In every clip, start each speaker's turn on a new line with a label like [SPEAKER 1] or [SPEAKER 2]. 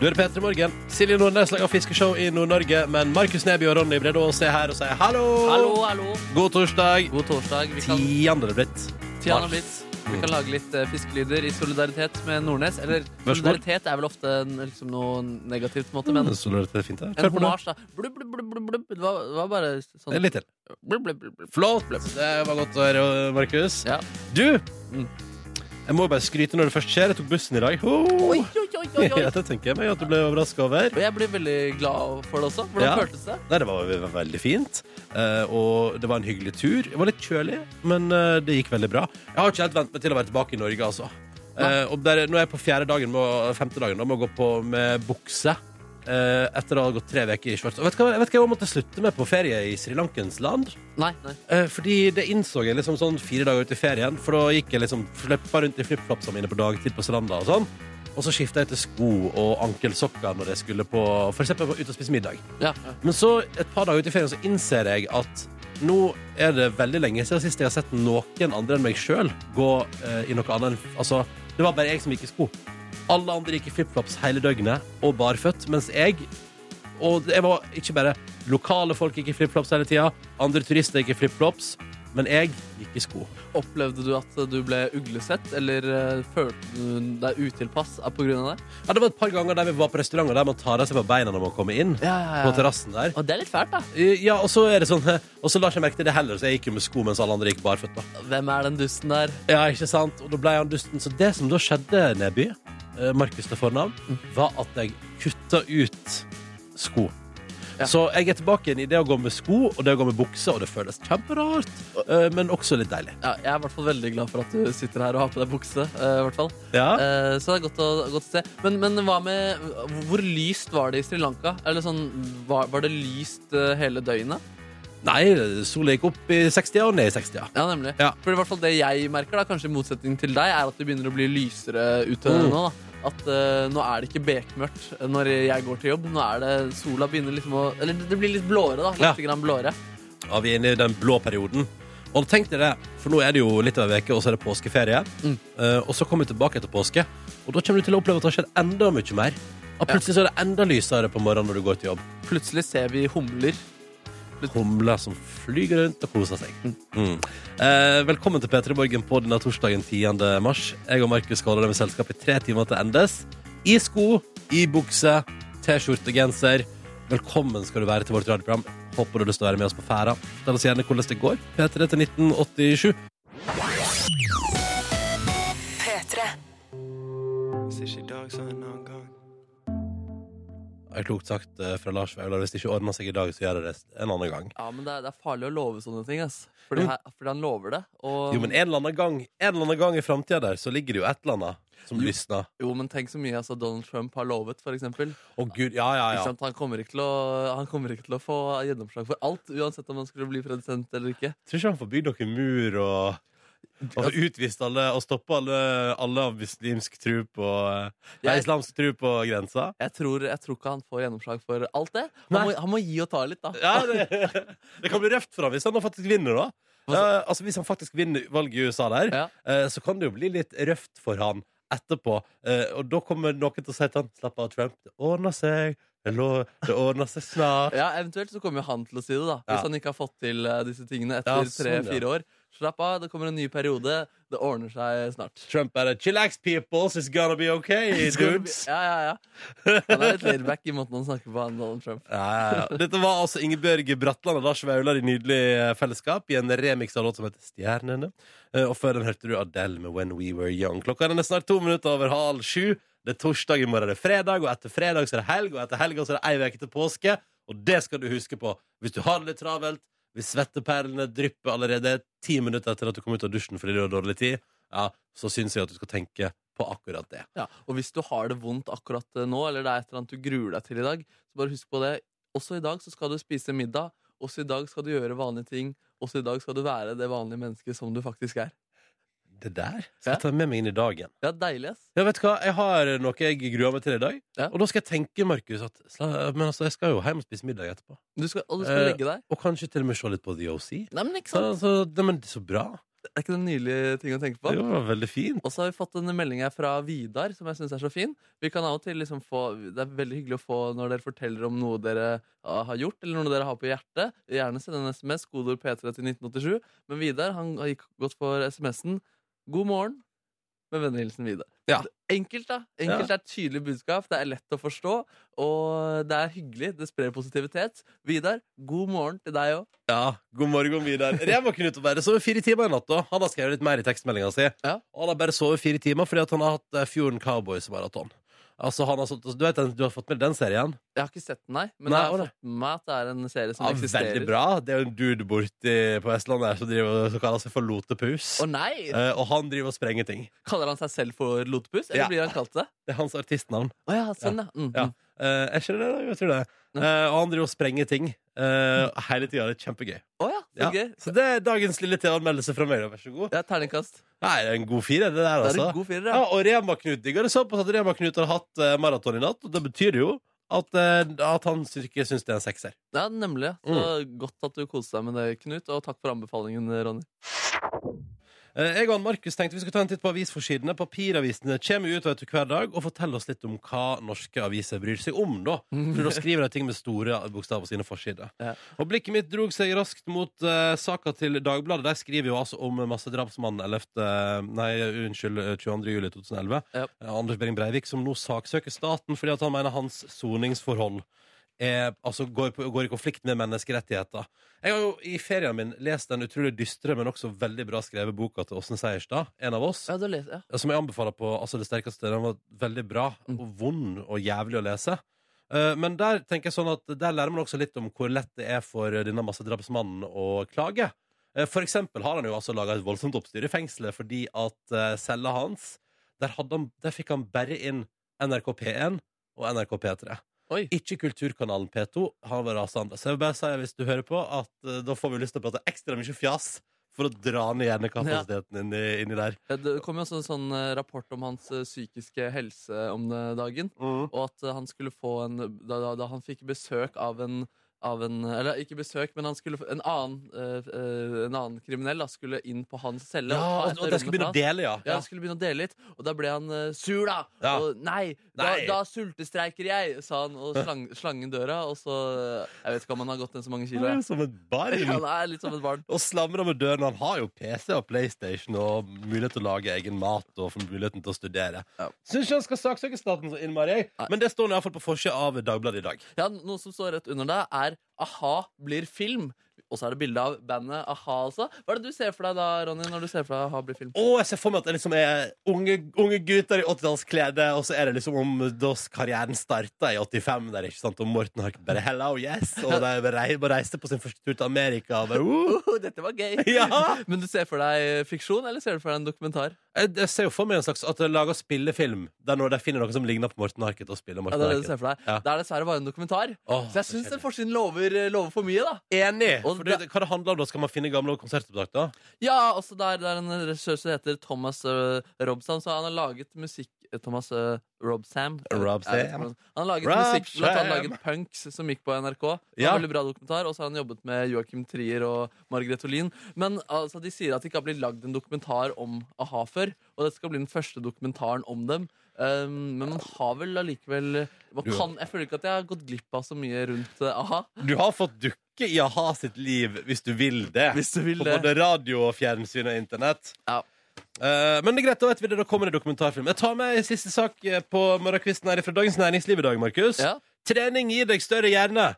[SPEAKER 1] Du er P3 Morgen. Silje Nordnes lager fiskeshow i Nord-Norge, men Markus Neby og Ronny Bredås er her og sier hallo.
[SPEAKER 2] Hallo, hallo.
[SPEAKER 1] God torsdag.
[SPEAKER 2] God torsdag. Vi kan,
[SPEAKER 1] Tiende blitt.
[SPEAKER 2] Tiana Blitz. Vi kan lage litt eh, fiskelyder i solidaritet med Nordnes. Eller
[SPEAKER 1] Vær så god.
[SPEAKER 2] solidaritet er vel ofte en- liksom noe negativt, på en måte, men
[SPEAKER 1] Så det er fint her.
[SPEAKER 2] en
[SPEAKER 1] Kjør på nå.
[SPEAKER 2] hommage, da. Blubb, blubb, blubb, blubb, blubb. Det var, det var bare
[SPEAKER 1] Det er
[SPEAKER 2] sånn
[SPEAKER 1] Litt til.
[SPEAKER 2] blubb, blubb, blubb, blubb.
[SPEAKER 1] Flott. Det var godt å høre, Markus.
[SPEAKER 2] Ja.
[SPEAKER 1] Du,
[SPEAKER 2] Mm.
[SPEAKER 1] jeg må bare skryte når det først skjer. Jeg tok bussen i dag. Ho!
[SPEAKER 2] Oi, oi, oi, oi, oi.
[SPEAKER 1] Ja, det tenker jeg meg at du ble overraska over.
[SPEAKER 2] Og jeg blir veldig glad for det også. Hvordan
[SPEAKER 1] Ja.
[SPEAKER 2] føltes det?
[SPEAKER 1] Nei, det var, det var veldig fint. eh, og det var en hyggelig tur. Det var litt kjølig, men eh, det gikk veldig bra. Jeg har ikke helt vent meg til å være tilbake i Norge, altså. Eh, og der, nå er jeg på fjerde dagen med, å- femte dagen da, med å gå på med bukse. eh, etter å ha gått tre uker i shorts. Og vet du hva, vet du hva jeg måtte slutte med på ferie i Sri Lankens land?
[SPEAKER 2] Nei, nei.
[SPEAKER 1] Eh, fordi det innså jeg liksom sånn fire dager ut i ferien. For da gikk jeg liksom flippa rundt i flipflopsene mine på dagtid på stranda og sånn. Og så skifta jeg til sko og ankelsokker når jeg skulle på for eksempel på- ut og spise middag.
[SPEAKER 2] Ja.
[SPEAKER 1] Men så, et par dager ut i ferien, så innser jeg at nå er det veldig lenge siden sist jeg har sett noen andre enn meg sjøl gå eh, i noe annet enn Altså, det var bare jeg som gikk i sko. Alle andre gikk i flipflops hele døgnet og barføtt, mens jeg Og jeg var ikke bare lokale folk gikk i flipflops hele tida, andre turister gikk i flipflops, men jeg gikk i sko.
[SPEAKER 2] Opplevde du at du ble uglesett, eller eh, følte du deg utilpass eh, på grunn av det?
[SPEAKER 1] Ja, det var et par ganger der vi var på restauranter der man tar av seg på beina når man kommer inn.
[SPEAKER 2] Ja, ja,
[SPEAKER 1] På terrassen der.
[SPEAKER 2] Og det er litt fælt, da.
[SPEAKER 1] Eh, Ja, og så er det sånn eh, Og så la ikke jeg merke til det heller, så jeg gikk jo med sko mens alle andre gikk barføtt. da
[SPEAKER 2] Hvem er den dusten der?
[SPEAKER 1] Ja, ikke sant? Og da ble han dusten. Så det som da skjedde, Neby, eh, Markus til fornavn, var at jeg kutta ut sko.
[SPEAKER 2] Ja.
[SPEAKER 1] Så jeg er tilbake igjen i det å gå med sko og det å gå med bukse, og det føles kjemperart, eh, men også litt deilig.
[SPEAKER 2] Ja, jeg er i hvert fall veldig glad for at du sitter her og har på deg bukse. eh, i hvert fall.
[SPEAKER 1] Ja.
[SPEAKER 2] Eh, så det er godt å, godt å se. Men, men hva med Hvor lyst var det i Sri Lanka? Eller sånn, var, var det lyst eh, hele døgnet?
[SPEAKER 1] Nei, sola gikk opp i 60-åra og ned i 60-åra.
[SPEAKER 2] Ja, nemlig.
[SPEAKER 1] Ja.
[SPEAKER 2] For i hvert fall det jeg merker, da, kanskje i motsetning til deg, er at det begynner å bli lysere ute
[SPEAKER 1] Mm.
[SPEAKER 2] nå. da. At eh, nå er det ikke bekmørkt eh, når jeg går til jobb. Nå er det Sola begynner liksom å Eller det blir litt blåere, da.
[SPEAKER 1] Ja.
[SPEAKER 2] Litt grann blåere.
[SPEAKER 1] Ja, vi er inne i den blå perioden. Og tenk deg det, for nå er det jo litt over en uke, og så er det påskeferie.
[SPEAKER 2] Mm.
[SPEAKER 1] Eh, og så kommer vi tilbake etter påske, og da kommer du til å oppleve at det har skjedd enda mye mer. Og plutselig så er det enda lysere på morgenen når du går til jobb.
[SPEAKER 2] Plutselig ser vi humler.
[SPEAKER 1] Humler som flyger rundt og koser seg. Mm. Eh, velkommen til P3 Borgen på denne torsdagen 10. mars. Jeg og Markus skal holde deg med selskap i tre timer til endes. I sko, i bukse, T-skjorte, genser. Velkommen skal du være til vårt radioprogram. Håper du har lyst til å være med oss på ferda. Fortell oss gjerne hvordan det går. P3 til 1987.
[SPEAKER 3] Say she dogs on, now I'm gone.
[SPEAKER 1] er klokt sagt eh, fra Lars Vaular. Hvis det ikke ordner seg i dag, så gjør det det en annen gang.
[SPEAKER 2] Ja, men det er, det er farlig å love sånne ting, ass. Fordi,
[SPEAKER 1] Jo.
[SPEAKER 2] her, fordi han lover det. Og,
[SPEAKER 1] Jo, men en eller annen gang, en eller annen gang i framtida der, så ligger det jo et eller annet som
[SPEAKER 2] Jo.
[SPEAKER 1] lysner.
[SPEAKER 2] jo, men tenk så mye altså, Donald Trump har lovet, for eksempel.
[SPEAKER 1] Å, gud. Ja, ja,
[SPEAKER 2] Ikke
[SPEAKER 1] ja.
[SPEAKER 2] sant? Han, kommer ikke til å, han kommer ikke til å få gjennomslag for alt, uansett om han skulle bli president eller ikke.
[SPEAKER 1] Tror ikke han får bygd noen mur og og får utvist alle og stoppe alle, alle av muslimsk tru på eh, Nei,
[SPEAKER 2] Jeg-
[SPEAKER 1] islamsk tru på grensa.
[SPEAKER 2] Jeg tror, jeg tror ikke han får gjennomslag for alt det. Han,
[SPEAKER 1] Nei.
[SPEAKER 2] må, han må gi og ta litt, da.
[SPEAKER 1] Ja, det, det kan bli røft for ham hvis han da faktisk vinner, da. Eh, altså Hvis han faktisk vinner valget i USA der,
[SPEAKER 2] Ja.
[SPEAKER 1] eh, så kan det jo bli litt røft for han etterpå. Eh, og da kommer noen til å si til han Slapp av, Trump. Det ordner seg. Det lo- det ordner seg snart.
[SPEAKER 2] Ja, Eventuelt så kommer jo han til å si det, da. Hvis
[SPEAKER 1] Ja.
[SPEAKER 2] han ikke har fått til eh, disse tingene
[SPEAKER 1] Ja,
[SPEAKER 2] etter
[SPEAKER 1] sånn, ja.
[SPEAKER 2] tre-fire år. Slapp av, det kommer en ny periode. Det ordner seg snart.
[SPEAKER 1] Trump er det. Chillax, peoples. It's gonna be okay, dudes.
[SPEAKER 2] Ja, ja, ja. Han er litt laidback i måten han snakker på, han Donald Trump.
[SPEAKER 1] Ja, ja, ja. Dette var altså Ingebjørg Bratland og Lars Vaular i nydelig eh, fellesskap i en remix av låt som heter Stjernene. Eh, Og før den hørte du Adele med When We Were Young. Klokka den er snart to minutter over halv sju. Det er torsdag, i morgen er det fredag, og etter fredag så er det helg, og etter helga så er det ei uke til påske. Og det skal du huske på hvis du har det litt travelt, hvis svetteperlene drypper allerede ti minutter etter at du kom ut av dusjen fordi du har dårlig tid, ja, så syns jeg at du skal tenke på akkurat det.
[SPEAKER 2] Ja. Og hvis du har det vondt akkurat eh, nå, eller det er et eller annet du gruer deg til i dag, så bare husk på det. Også i dag så skal du spise middag. Også i dag skal du gjøre vanlige ting. Også i dag skal du være det vanlige mennesket som du faktisk er.
[SPEAKER 1] Det der skal
[SPEAKER 2] Ja.
[SPEAKER 1] jeg ta med meg inn i dagen.
[SPEAKER 2] Ja, deilig, ass.
[SPEAKER 1] Ja, vet du hva? Jeg har noe jeg gruer meg til i dag.
[SPEAKER 2] Ja.
[SPEAKER 1] Og da skal jeg tenke, Markus, at sla- men altså, jeg skal jo hjem og spise middag etterpå.
[SPEAKER 2] Du skal, og du skal
[SPEAKER 1] Eh,
[SPEAKER 2] legge deg.
[SPEAKER 1] Og kanskje til og med se litt på The OC.
[SPEAKER 2] Nei, men ikke
[SPEAKER 1] Så,
[SPEAKER 2] sant?
[SPEAKER 1] så, nei, men, så bra.
[SPEAKER 2] Er ikke det en nydelig ting å tenke på?
[SPEAKER 1] Jo, det var veldig fint.
[SPEAKER 2] Og så har vi fått en melding her fra Vidar, som jeg syns er så fin. Vi kan av og til liksom få, Det er veldig hyggelig å få når dere forteller om noe dere ja, har gjort, eller noe dere har på hjertet. Gjerne send en SMS, kodord P3 til 1987. Men Vidar han har gikk godt for SMS-en. God morgen. Med vennehilsen Vidar.
[SPEAKER 1] Ja.
[SPEAKER 2] Enkelt, da. Enkelt er et tydelig budskap. Det er lett å forstå, og det er hyggelig. Det sprer positivitet. Vidar, god morgen til deg òg.
[SPEAKER 1] Ja, god morgen, Vidar. Rev og Knut har bare sovet fire timer i natt. da. Han har skrevet litt mer i tekstmeldinga si.
[SPEAKER 2] Ja.
[SPEAKER 1] Og han har bare sovet fire timer fordi at han har hatt eh, Fjorden Cowboys-maraton. Altså, han har sånt, altså, du, vet, den- du har fått med den serien?
[SPEAKER 2] Jeg har ikke sett den, nei. Men
[SPEAKER 1] Nei,
[SPEAKER 2] jeg har
[SPEAKER 1] ålreit.
[SPEAKER 2] fått med meg at det er en serie som
[SPEAKER 1] Ja,
[SPEAKER 2] eksisterer.
[SPEAKER 1] veldig bra. Det er jo en dude borti på Vestlandet her som, driver, som kaller seg for Lotepus.
[SPEAKER 2] Å nei!
[SPEAKER 1] Eh, og han driver og sprenger ting.
[SPEAKER 2] Kaller han seg selv for lotepus, eller
[SPEAKER 1] Ja.
[SPEAKER 2] blir han kalt det?
[SPEAKER 1] Det er hans artistnavn.
[SPEAKER 2] Å ja, sånn, ja. Mm,
[SPEAKER 1] Ja.
[SPEAKER 2] mm.
[SPEAKER 1] Eh, er ikke det det? Jo, Jeg tror det.
[SPEAKER 2] Ja. Mm.
[SPEAKER 1] Eh, og han driver og sprenger ting eh, hele tida. Det er kjempegøy.
[SPEAKER 2] Å ja, så
[SPEAKER 1] Ja.
[SPEAKER 2] gøy.
[SPEAKER 1] Så det er dagens lille TV-anmeldelse fra meg. da. Vær så god.
[SPEAKER 2] Ja, terningkast.
[SPEAKER 1] Nei, det er en god fire, det der,
[SPEAKER 2] Da er det
[SPEAKER 1] altså.
[SPEAKER 2] en god firer,
[SPEAKER 1] Ja,
[SPEAKER 2] ja.
[SPEAKER 1] og Rema-Knut digger det såpass at Rema-Knut har hatt eh, maraton i natt, og det betyr jo at, eh, at han sy- ikke syns det er en sekser.
[SPEAKER 2] ja. Nemlig. Så
[SPEAKER 1] Mm.
[SPEAKER 2] godt at du koste deg med det, Knut, og takk for anbefalingen, Ronny.
[SPEAKER 1] Eh, Jeg og han Markus tenkte vi skulle ta en titt på avisforsidene. Papiravisene kommer jo ut vet du, hver dag og forteller oss litt om hva norske aviser bryr seg om, da. For da skriver de ting med store bokstaver på sine forsider.
[SPEAKER 2] Ja.
[SPEAKER 1] Og blikket mitt drog seg raskt mot eh, saka til Dagbladet. De skriver jo altså om massedrapsmannen 11. Nei, unnskyld, eh, 22. juli 2011.
[SPEAKER 2] Ja.
[SPEAKER 1] Eh, Anders Behring Breivik, som nå saksøker staten fordi at han mener hans soningsforhold er, altså går, på, går i konflikt med menneskerettigheter. Jeg har jo i ferien min lest den utrolig dystre, men også veldig bra skrevet boka til Åsne Seierstad, en av oss,
[SPEAKER 2] Ja, du leser, ja.
[SPEAKER 1] som jeg anbefaler på altså det sterkeste. Den var veldig bra
[SPEAKER 2] Mm.
[SPEAKER 1] og vond og jævlig å lese. Eh, Men der tenker jeg sånn at der lærer man også litt om hvor lett det er for denne massedrapsmannen å klage. Eh, For eksempel har han jo altså laga et voldsomt oppstyr i fengselet fordi at eh, cella hans der, hadde han, der fikk han bare inn NRK P1 og NRK P3.
[SPEAKER 2] Oi.
[SPEAKER 1] Ikke kulturkanalen P2. Han var rasende. Så jeg vil bare si, hvis du hører på, at eh, da får vi lyst til å prate ekstra mye fjas for å dra ned hjernekapasiteten inni, inni der.
[SPEAKER 2] Ja, Det kom jo også en sånn eh, rapport om hans eh, psykiske helse om eh, dagen. Og at eh, han skulle få en Da, da, da han fikk besøk av en av en, eller ikke besøk, men han skulle, få- en, annen, eh, eh, en annen kriminell da, skulle inn på hans celle.
[SPEAKER 1] Ja,
[SPEAKER 2] ta
[SPEAKER 1] og, og
[SPEAKER 2] et av
[SPEAKER 1] de skal
[SPEAKER 2] rommene
[SPEAKER 1] begynne
[SPEAKER 2] hans.
[SPEAKER 1] å dele, ja.
[SPEAKER 2] Ja, han skulle begynne å dele litt, og da ble han eh, sur, da.
[SPEAKER 1] Ja.
[SPEAKER 2] Og nei, da,
[SPEAKER 1] Nei.
[SPEAKER 2] da sultestreiker jeg, sa han, og slang, slangen døra, og så eh, Jeg vet ikke om han har gått ned så mange
[SPEAKER 1] Han
[SPEAKER 2] kilo.
[SPEAKER 1] er jo
[SPEAKER 2] jeg.
[SPEAKER 1] som et barn.
[SPEAKER 2] Han er litt som et barn.
[SPEAKER 1] Og slamrer med døren. Han har jo PC og PlayStation og mulighet til å lage egen mat og for muligheten til å studere.
[SPEAKER 2] Ja.
[SPEAKER 1] Syns ikke han skal saksøke staten så innmari, jeg.
[SPEAKER 2] Nei.
[SPEAKER 1] men det står nå iallfall på forsida av Dagbladet i dag.
[SPEAKER 2] Ja, Noe som står rett under deg, er A-ha blir film. Og så er det bilde av bandet A-ha, altså. Hva er det du ser for deg da, Ronny, når du ser for deg A-ha blir film?
[SPEAKER 1] Å, jeg ser for meg at det liksom er unge, unge gutter i 80-tallsklede, og så er det liksom om da karrieren starta i 85, der, ikke sant? Og Morten Harket bare 'hello, yes', og de rei- bare reiste på sin første tur til Amerika. Og bare, uh.
[SPEAKER 2] Oh, dette var gøy!
[SPEAKER 1] Ja!
[SPEAKER 2] Men du ser for deg eh, fiksjon, eller ser du for deg en dokumentar?
[SPEAKER 1] Jeg, jeg ser jo for meg en slags at de lager spillefilm der når de finner noen som ligner på Morten Harket, og spiller
[SPEAKER 2] Ja,
[SPEAKER 1] Morten
[SPEAKER 2] det er det du
[SPEAKER 1] Harket.
[SPEAKER 2] ser for deg.
[SPEAKER 1] Ja.
[SPEAKER 2] Det er dessverre bare en dokumentar.
[SPEAKER 1] Åh,
[SPEAKER 2] Så jeg syns den forsiden lover, eh, lover for mye, da.
[SPEAKER 1] Enig!
[SPEAKER 2] Og
[SPEAKER 1] For det, hva det handler om da? Skal man finne gamle konsertopptak, da?
[SPEAKER 2] Ja, altså det er, det er en regissør som heter Thomas uh, Robsam, så han har laget musikk eh, Thomas uh, Robsam.
[SPEAKER 1] Robsam.
[SPEAKER 2] Jeg vet ikke hvordan- Han har laget
[SPEAKER 1] Robsam.
[SPEAKER 2] musikk, blant annet laget Punks, som gikk på NRK. Det var
[SPEAKER 1] Ja.
[SPEAKER 2] en Veldig bra dokumentar, Og så har han jobbet med Joakim Trier og Margrethe Olin. Men altså, de sier at det ikke har blitt lagd en dokumentar om a-ha før, og dette skal bli den første dokumentaren om dem. Um, men man har vel allikevel man
[SPEAKER 1] Du-
[SPEAKER 2] kan, Jeg føler ikke at jeg har gått glipp av så mye rundt uh, a-ha.
[SPEAKER 1] Du har fått dukke i a-ha sitt liv hvis du vil det.
[SPEAKER 2] Hvis du vil
[SPEAKER 1] På
[SPEAKER 2] det.
[SPEAKER 1] både radio og fjernsyn og internett.
[SPEAKER 2] Ja.
[SPEAKER 1] Eh, men det er greit, da vet vi det. Da kommer det dokumentarfilm. Jeg tar med en siste sak eh, på morgenkvisten her fra Dagens Næringsliv i dag, Markus.
[SPEAKER 2] Ja.
[SPEAKER 1] Trening gir deg større hjerne.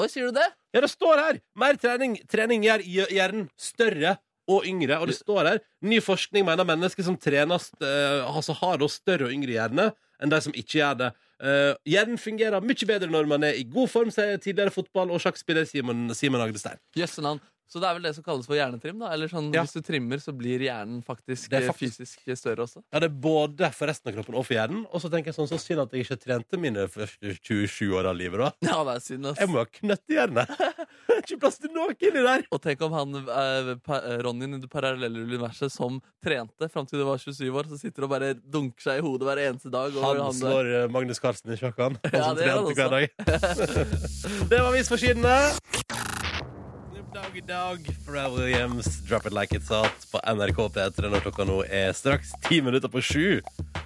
[SPEAKER 2] Oi, sier du det?
[SPEAKER 1] Ja, det står her! Mer trening. Trening gjør gjør hjernen større og yngre. Og det står her ny forskning mener mennesker som trener, st- eh, altså har da større og yngre hjerne enn de som ikke gjør det. Eh, hjernen fungerer mye bedre når man er i god form, sier tidligere fotball- og sjakkspiller Simon, Simon Agdestein.
[SPEAKER 2] Jøsse navn. Så det er vel det som kalles for hjernetrim? da? Eller sånn,
[SPEAKER 1] Ja.
[SPEAKER 2] Hvis du trimmer, så blir hjernen faktisk,
[SPEAKER 1] Det er
[SPEAKER 2] eh,
[SPEAKER 1] faktisk-
[SPEAKER 2] fysisk større også?
[SPEAKER 1] Ja, det er både for resten av kroppen og for hjernen. Og så tenker jeg sånn, så synd at jeg ikke trente mine første 27 år av livet, da.
[SPEAKER 2] Ja, det er synd, ass.
[SPEAKER 1] Jeg må ha knøtthjerne. ikke plass til noe inni der.
[SPEAKER 2] Og tenk om han eh, pa- eh, Ronnyen i det parallelle universet som trente fram til du var 27 år, så sitter og bare dunker seg i hodet hver eneste dag. Og
[SPEAKER 1] Han slår eh, Magnus Carlsen i sjakk, han. Han
[SPEAKER 2] Ja,
[SPEAKER 1] som
[SPEAKER 2] det gjør han
[SPEAKER 1] trente hver dag. det var visforsidene. Dog i dag, Pharrell Williams, Drop It Like It's Hot på NRK P3 når klokka nå er straks ti minutter på sju.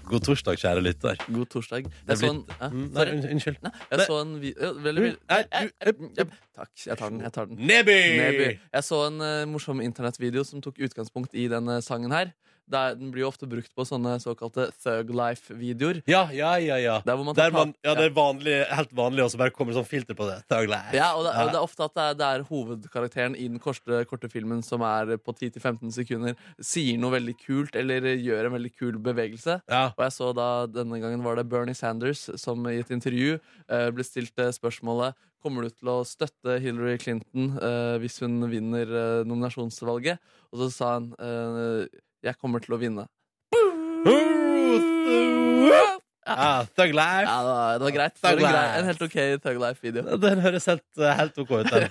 [SPEAKER 1] God torsdag, kjære lytter.
[SPEAKER 2] God torsdag.
[SPEAKER 1] Det
[SPEAKER 2] Jeg så
[SPEAKER 1] blir-
[SPEAKER 2] en Hæ?
[SPEAKER 1] Mm, Nei,
[SPEAKER 2] sånn- Sorry.
[SPEAKER 1] unnskyld. unnskyld.
[SPEAKER 2] Nei,
[SPEAKER 1] Nei.
[SPEAKER 2] jeg så en vi- ja, veldig,
[SPEAKER 1] Mm, nei,
[SPEAKER 2] Eh, eh,
[SPEAKER 1] mm,
[SPEAKER 2] eh, Takk. Jeg tar den. jeg tar den
[SPEAKER 1] Nebby!
[SPEAKER 2] Neby. Jeg så en eh, morsom internettvideo som tok utgangspunkt i denne sangen her. Der, den blir jo ofte brukt på sånne såkalte Thug Life-videoer.
[SPEAKER 1] Ja, ja, ja. ja.
[SPEAKER 2] Der hvor man tar
[SPEAKER 1] Der man,
[SPEAKER 2] tak-
[SPEAKER 1] ja, det er vanlig, helt vanlig, og så bare kommer det sånn filter på det. Thug life.
[SPEAKER 2] Ja, og det, og det
[SPEAKER 1] Ja.
[SPEAKER 2] er ofte at det er, det er hovedkarakteren i den korte, korte filmen som er på 10-15 sekunder, sier noe veldig kult eller eh, gjør en veldig kul bevegelse.
[SPEAKER 1] Ja.
[SPEAKER 2] Og jeg så da, denne gangen var det Bernie Sanders som i et intervju eh, ble stilt eh, spørsmålet Kommer du til å støtte Hillary Clinton eh, hvis hun vinner eh, nominasjonsvalget? Og så sa han eh, Jeg kommer til å vinne.
[SPEAKER 1] ja, Thug life.
[SPEAKER 2] Ja, det var, det var greit. Det
[SPEAKER 1] Thug
[SPEAKER 2] var en, grei,
[SPEAKER 1] Life.
[SPEAKER 2] en helt ok Thug Life-video.
[SPEAKER 1] Den høres helt, helt OK ut, den.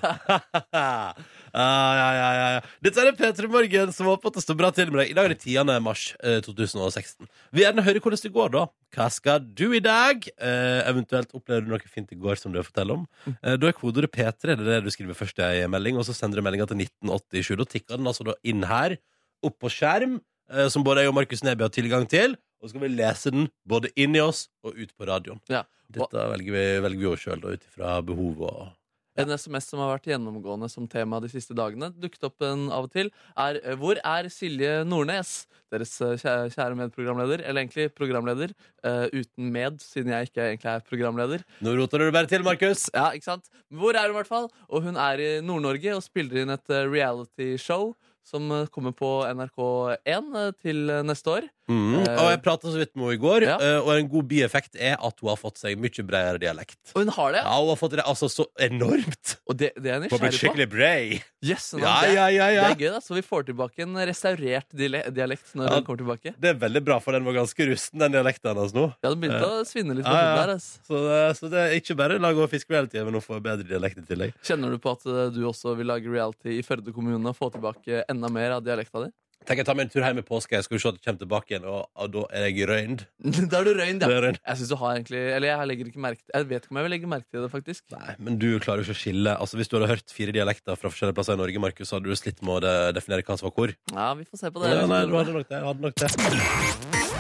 [SPEAKER 1] ja, Ah, ja, ja, ja, ja. Dette er P3 Morgen, som håper at det står bra til med deg. I dag er det 10. mars eh, 2016. Vi vil gjerne høre hvordan det går, da. Hva skal du i dag? Eh, eventuelt opplevde du noe fint i går som du vil fortelle om.
[SPEAKER 2] Mm.
[SPEAKER 1] Eh, da er kodeordet P3 det er det du skriver først i ei melding, og så sender du meldinga til 1987. Da tikker den altså da inn her, opp på skjerm, eh, som både jeg og Markus Neby har tilgang til. Og så skal vi lese den både inn i oss og ut på radioen.
[SPEAKER 2] Ja. Og-
[SPEAKER 1] Dette velger vi, velger vi jo sjøl, da, ut ifra behovet og
[SPEAKER 2] En SMS som har vært gjennomgående som tema de siste dagene, dukket opp en av og til, er eh, Hvor er Silje Nordnes? Deres eh, kjæ- kjære medprogramleder, eller egentlig programleder, eh, uten med, siden jeg ikke egentlig er programleder.
[SPEAKER 1] Nå roter du det bare til, Markus.
[SPEAKER 2] Ja, ikke sant? Hvor er hun i hvert fall? Og hun er i Nord-Norge og spiller inn et eh, realityshow som eh, kommer på NRK1 eh, til eh, neste år. Eh.
[SPEAKER 1] Og jeg prata så vidt med henne i går,
[SPEAKER 2] Ja.
[SPEAKER 1] eh, og en god bieffekt er at hun har fått seg mye bredere dialekt.
[SPEAKER 2] Og hun har det!
[SPEAKER 1] Ja, hun har fått det altså så enormt!
[SPEAKER 2] Og det, det er
[SPEAKER 1] Hun har blitt
[SPEAKER 2] jeg nysgjerrig på.
[SPEAKER 1] skikkelig brei.
[SPEAKER 2] Yes, hun
[SPEAKER 1] Ja,
[SPEAKER 2] har det.
[SPEAKER 1] ja, ja, ja.
[SPEAKER 2] Det er gøy, da. Så vi får tilbake en restaurert diale- dialekt når
[SPEAKER 1] Ja.
[SPEAKER 2] hun kommer tilbake.
[SPEAKER 1] Det er veldig bra, for den var ganske rusten, den dialekten hennes nå. Eh,
[SPEAKER 2] Ja, det begynte å svinne litt.
[SPEAKER 1] Ja,
[SPEAKER 2] på
[SPEAKER 1] ja.
[SPEAKER 2] den der, ass.
[SPEAKER 1] Så, eh, så det er ikke bare lag og fisk hele tiden, men hun får bedre dialekt i tillegg.
[SPEAKER 2] Kjenner du på at eh, du også vil lage reality i Førde kommune og få tilbake enda mer av dialekta di?
[SPEAKER 1] Tenk, jeg tar meg en tur hjem i påska, jeg skal se at jeg kommer tilbake igjen, og, og da er jeg røynd.
[SPEAKER 2] da er du røynd,
[SPEAKER 1] Da er
[SPEAKER 2] ja.
[SPEAKER 1] jeg røynd.
[SPEAKER 2] Jeg synes du har egentlig Eller jeg legger ikke merke Jeg vet ikke om jeg vil legge merke til det, faktisk.
[SPEAKER 1] Nei, men du klarer jo ikke å skille Altså, Hvis du hadde hørt fire dialekter fra forskjellige plasser i Norge, Markus, så hadde du slitt med å de- definere hva som var hvor.
[SPEAKER 2] Ja, vi får se på det.
[SPEAKER 1] Ja, nei, du hadde nok det. Hadde nok det.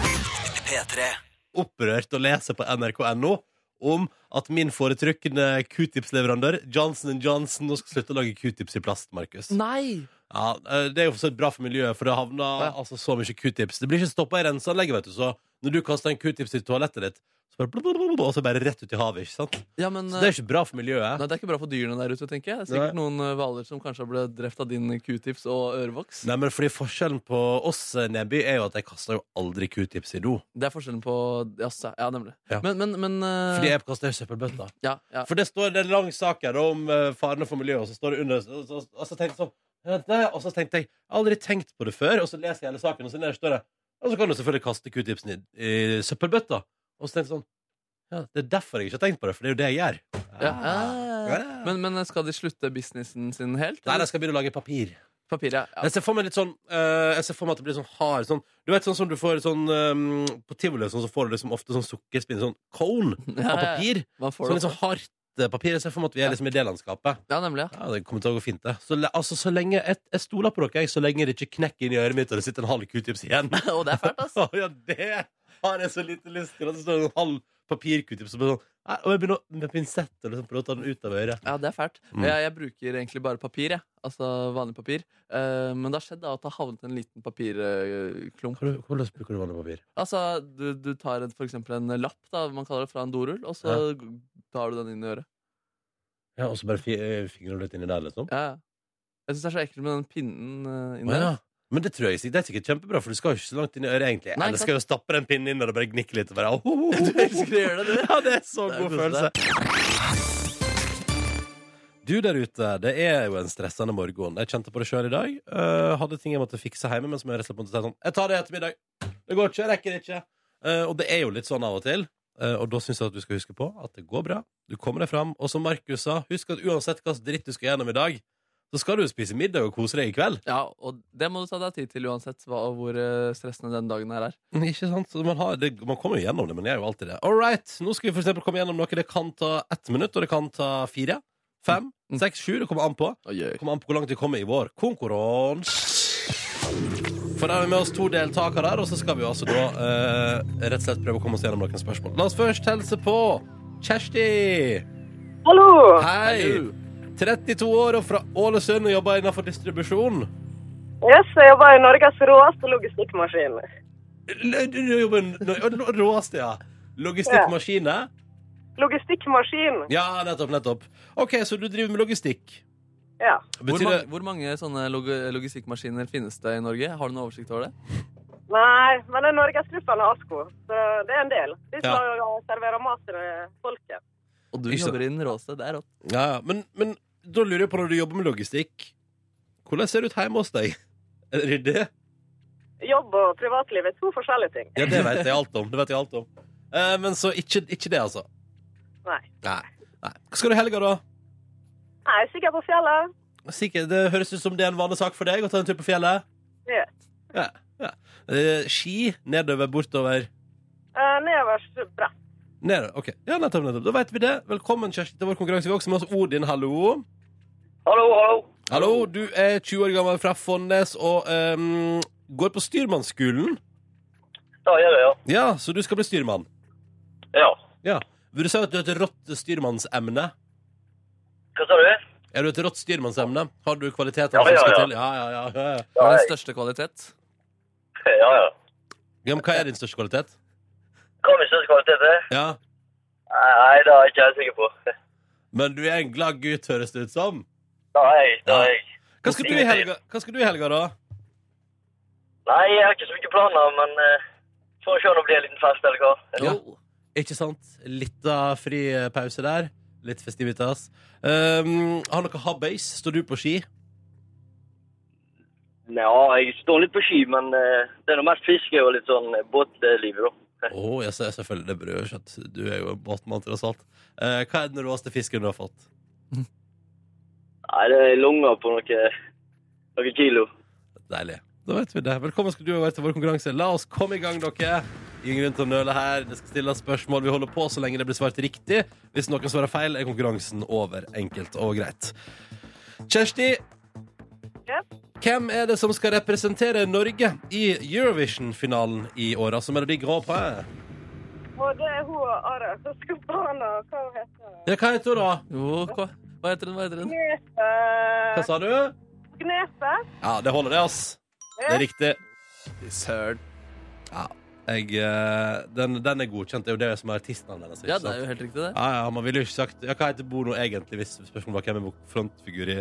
[SPEAKER 1] Opprørt å lese på nrk.no om at min foretrukne q-tips-leverandør Johnson Johnson nå skal slutte å lage q-tips i plast, Markus.
[SPEAKER 2] Nei!
[SPEAKER 1] Ja, eh, Det er jo for så vidt bra for miljøet, for det havner
[SPEAKER 2] Ja.
[SPEAKER 1] altså, så mye q-tips. Det blir ikke stoppa i renseanlegget, vet du, så når du kaster en q-tips i toalettet ditt, så bare, blablabla, og så bare rett ut i havet, ikke sant?
[SPEAKER 2] Ja, men
[SPEAKER 1] Så det
[SPEAKER 2] eh,
[SPEAKER 1] er ikke bra for miljøet.
[SPEAKER 2] Nei, Det er ikke bra for dyrene der ute, tenker jeg. Det er sikkert noen eh, hvaler som kanskje ble drept av din q-tips og ørevoks.
[SPEAKER 1] Nei, men fordi Forskjellen på oss, Nebby, er jo at jeg kaster jo aldri q-tips i do.
[SPEAKER 2] Det er forskjellen på Jaså. Ja, nemlig.
[SPEAKER 1] Ja.
[SPEAKER 2] Men, men, men eh,
[SPEAKER 1] Fordi jeg kaster i søppelbøtta.
[SPEAKER 2] ja, ja.
[SPEAKER 1] For det står det er en lang sak her om eh, farene for miljøet, og så står det under Og så, og så tenkte jeg sånn «Ja, det», Og så tenkte jeg Jeg har aldri tenkt på det før, og så leser jeg hele saken, og så nederst står det Og så kan du selvfølgelig kaste q-tipsen i, i søppelbøtta. Og så tenkte jeg sånn ja, Det er derfor jeg ikke har tenkt på det, for det er jo det jeg gjør. Ah.
[SPEAKER 2] Ja, ja, ja.
[SPEAKER 1] Ja.
[SPEAKER 2] Men, men skal de slutte businessen sin helt?
[SPEAKER 1] Nei,
[SPEAKER 2] eller?
[SPEAKER 1] jeg skal begynne å lage papir.
[SPEAKER 2] Papir, ja. ja.
[SPEAKER 1] Jeg ser for meg litt sånn eh, Jeg ser for meg at det blir sånn hard sånn, Du vet sånn som du får sånn eh, På tivoli og sånn, så får du liksom ofte sånn sukkerspinn, sånn cone
[SPEAKER 2] Ja,
[SPEAKER 1] av
[SPEAKER 2] ja, ja.
[SPEAKER 1] papir.
[SPEAKER 2] Man får
[SPEAKER 1] Sånn
[SPEAKER 2] det
[SPEAKER 1] litt sånn hardt eh, papir. Jeg ser for meg at vi er liksom i det landskapet.
[SPEAKER 2] Ja, nemlig. ja
[SPEAKER 1] Ja, det kommer til å gå fint, det. Så, le- altså, så lenge, jeg, jeg stoler på dere, jeg, så lenge det ikke knekker inn i øret mitt og det sitter en halv q-tips igjen.
[SPEAKER 2] Og det er fælt, ass.
[SPEAKER 1] Å, ja, det har jeg så lite lyst til. At det står en halv papir-q-tips og bare sånn Nei, Og jeg begynner å- med pinsett og liksom prøve å ta den ut av øret.
[SPEAKER 2] Ja, det er fælt.
[SPEAKER 1] Mm.
[SPEAKER 2] Jeg, jeg bruker egentlig bare papir, jeg. Altså vanlig papir. Eh, men det har skjedd da at det har havnet en liten papirklump.
[SPEAKER 1] Hva- Hvordan bruker du vanlig papir?
[SPEAKER 2] Altså, du, du tar en, for eksempel en lapp, da, man kaller det, fra en dorull, og så g- tar du den inn i øret.
[SPEAKER 1] Ja, Og så bare fi- eh, fingrer du litt inni der, liksom?
[SPEAKER 2] Ja, ja. Jeg syns det er så ekkelt med den pinnen uh, inni
[SPEAKER 1] Å,
[SPEAKER 2] der.
[SPEAKER 1] ja. Men det tror jeg sikkert, det er sikkert kjempebra, for du skal jo ikke så langt inn i øret, egentlig.
[SPEAKER 2] Nei,
[SPEAKER 1] Eller skal jo stappe den pinnen inn og bare gnikke litt og bare oh, oh,
[SPEAKER 2] Du elsker å gjøre det, du!
[SPEAKER 1] Ja, det er så
[SPEAKER 2] Det er
[SPEAKER 1] god
[SPEAKER 2] koselig.
[SPEAKER 1] følelse. Du der ute, det er jo en stressende morgen. Jeg kjente på det sjøl i dag. Eh, hadde ting jeg måtte fikse hjemme, men som jeg rett og slett måtte si sånn Jeg tar det i ettermiddag. Det går ikke. Jeg rekker det ikke. Eh, og det er jo litt sånn av og til. Eh, og da syns jeg at du skal huske på at det går bra. Du kommer deg fram. Og som Markus sa, husk at uansett hva slags dritt du skal gjennom i dag, så skal du jo spise middag og kose deg i kveld.
[SPEAKER 2] Ja, og det må du ta deg tid til uansett hva, og hvor eh, stressende den dagen her er.
[SPEAKER 1] Mm, Ikke sant? Så man, har, det, man kommer jo gjennom det, men jeg gjør jo alltid det. All right, nå skal vi for eksempel komme gjennom noe. Det kan ta ett minutt, og det kan ta fire, fem,
[SPEAKER 2] Mm.
[SPEAKER 1] Seks-sju, det kommer an på.
[SPEAKER 2] Oi, oi.
[SPEAKER 1] Det kommer an på hvor langt vi kommer i vår konkurranse. For da har vi med oss to deltakere her, og så skal vi altså da eh, rett og slett prøve å komme oss gjennom noen spørsmål. La oss først helse på Kjersti.
[SPEAKER 4] Hallo!
[SPEAKER 1] Hei.
[SPEAKER 2] Hallo.
[SPEAKER 1] 32 år og fra Ålesund og jobber innenfor distribusjon.
[SPEAKER 4] Yes, jeg jobber i Norges råeste logistikkmaskin.
[SPEAKER 1] L- Du du jobber i Nor- Nor- råeste, ja. Logistikkmaskine.
[SPEAKER 4] Logistikkmaskin?
[SPEAKER 1] Ja, nettopp, nettopp. OK, så du driver med logistikk.
[SPEAKER 4] Ja.
[SPEAKER 2] Hvor,
[SPEAKER 1] Betyr det
[SPEAKER 2] mange, hvor mange sånne log logistikkmaskiner finnes det i Norge? Har du noen oversikt over det?
[SPEAKER 4] Nei, men det er Norgesgruppen og ASKO, så det er en del. De
[SPEAKER 1] Ja.
[SPEAKER 4] skal jo servere mat til folket.
[SPEAKER 2] Og du
[SPEAKER 1] Ikke sant.
[SPEAKER 2] jobber i den råeste. Det er rått.
[SPEAKER 1] Ja, ja. Men, men da lurer jeg på, når du jobber med logistikk, hvordan ser det ut hjemme hos deg? Er det Ryddig?
[SPEAKER 4] Jobb og privatliv er to forskjellige ting.
[SPEAKER 1] Ja, det vet jeg alt om. Det vet jeg alt om. Eh, men så ikke, ikke det, altså.
[SPEAKER 4] Nei.
[SPEAKER 1] Nei. Nei. Hva skal du i helga, da?
[SPEAKER 4] Nei, sikkert på fjellet.
[SPEAKER 1] Sikkert, det høres ut som det er en vanlig sak for deg å ta en tur på fjellet.
[SPEAKER 4] Ja.
[SPEAKER 1] Ja, ja. Eh, ski nedover, bortover.
[SPEAKER 4] Uh, Nederst brett.
[SPEAKER 1] Nedover. OK. Ja, nettopp, nettopp. Da vet vi det. Velkommen, Kjersti, til vår konkurranse. Vi har også med oss Odin. Hallo.
[SPEAKER 4] Hallo, hallo.
[SPEAKER 1] Hallo, du er 20 år gammel fra Fonnes og ehm, går på styrmannsskolen.
[SPEAKER 4] Da gjør jeg, ja.
[SPEAKER 1] Ja, så du skal bli styrmann.
[SPEAKER 4] Ja.
[SPEAKER 1] Ja. Vil du si at du har et rått styrmannsemne?
[SPEAKER 4] Hva sa du?
[SPEAKER 1] Er du et rått styrmannsemne? Har du kvaliteter
[SPEAKER 4] Ja,
[SPEAKER 1] som
[SPEAKER 4] ja,
[SPEAKER 1] skal
[SPEAKER 4] ja.
[SPEAKER 1] til? Ja, ja, ja, ja, ja.
[SPEAKER 2] Hva er den største kvalitet?
[SPEAKER 4] Ja, ja.
[SPEAKER 1] ja. Men hva er din største kvalitet?
[SPEAKER 4] Kan vi ikke kvalitet til?
[SPEAKER 1] Ja.
[SPEAKER 4] eh? Nei, det er jeg ikke helt sikker på.
[SPEAKER 1] Men du er en glad gutt, høres det ut som.
[SPEAKER 4] Nei,
[SPEAKER 1] da er
[SPEAKER 4] jeg.
[SPEAKER 1] Hva skal du i helga, hva skal du i helga da?
[SPEAKER 4] Nei, jeg har ikke så mye planer, men uh, får se om det blir en liten fest eller hva.
[SPEAKER 1] Ja. Ikke sant? Litt av fri eh, pause der. Litt festivitas. Um, har dere habbeis? Står du på ski?
[SPEAKER 4] Ja, jeg står litt på ski, men eh, det er noe mest fiske og litt sånn eh, båtliv, da.
[SPEAKER 1] Å, ja, så- selvfølgelig. Det brød ikke at du er jo en båtmann, tross alt. Eh, hva er den råeste fisken du har fått?
[SPEAKER 4] Nei, det er lunger på noen noe kilo.
[SPEAKER 1] Deilig. Da vet vi det. Velkommen skal du være til vår konkurranse. La oss komme i gang, dere. Ingen grunn til å nøle her. Det skal stilles spørsmål. Vi holder på så lenge det blir svart riktig. Hvis noen svarer feil, er konkurransen over. Enkelt og greit. Kjersti,
[SPEAKER 4] Ja.
[SPEAKER 1] hvem er det som skal representere Norge i Eurovision-finalen i år? Altså Melodi Grand Prix.
[SPEAKER 4] Og det er hun og Are som skal på han, og hva heter hun?
[SPEAKER 1] Ja, hva heter hun, da?
[SPEAKER 2] Jo, hva, hva heter den? Hva heter den?
[SPEAKER 4] Gnete.
[SPEAKER 1] Hva
[SPEAKER 4] Eh,
[SPEAKER 1] sa du?
[SPEAKER 4] Gnete?
[SPEAKER 1] Ja, det holder, det, ass. Det er riktig.
[SPEAKER 2] Søren.
[SPEAKER 1] Jeg, eh, den, den er godkjent. Det er jo det som er artistnavnet hennes. ikke
[SPEAKER 2] Ja,
[SPEAKER 1] sant?
[SPEAKER 2] det er jo helt riktig, det.
[SPEAKER 1] Ja, ja, man ville jo ikke sagt ja, Hva heter Bono egentlig hvis spørsmålet var hvem er frontfigur i,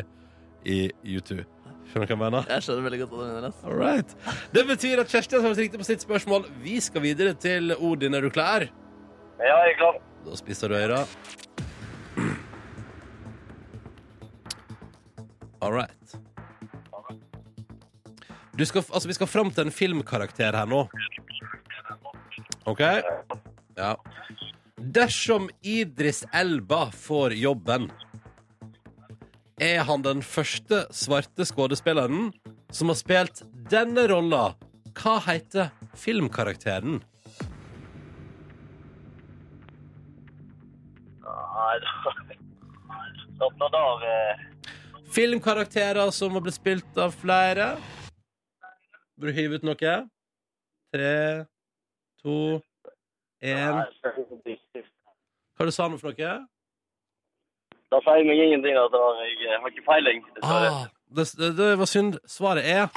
[SPEAKER 1] i U2? Skjønner du hva jeg mener?
[SPEAKER 2] Jeg skjønner veldig godt hva du mener. ass.
[SPEAKER 1] All right. Det betyr at Kjersti har svart riktig på sitt spørsmål. Vi skal videre til Odin. Er du klar?
[SPEAKER 4] Ja, jeg er klar.
[SPEAKER 1] Da spiser du øra. All right. Du skal, altså, vi skal fram til en filmkarakter her nå. OK? Ja. Dersom Idris Elba får jobben, er han den første svarte skuespilleren som har spilt denne rolla. Hva heter filmkarakteren?
[SPEAKER 4] Nei, da Slapp nå av. eh.
[SPEAKER 1] Filmkarakterer som har blitt spilt av flere. Vil du hive ut noe? Tre, to, én
[SPEAKER 4] Nei, det er ingenting.
[SPEAKER 1] Hva du sa nå for noe?
[SPEAKER 4] Da sier jeg meg ingenting. at det var- Jeg eh, har ikke peiling. dessverre.
[SPEAKER 1] Ah, det, det, det var synd. Svaret er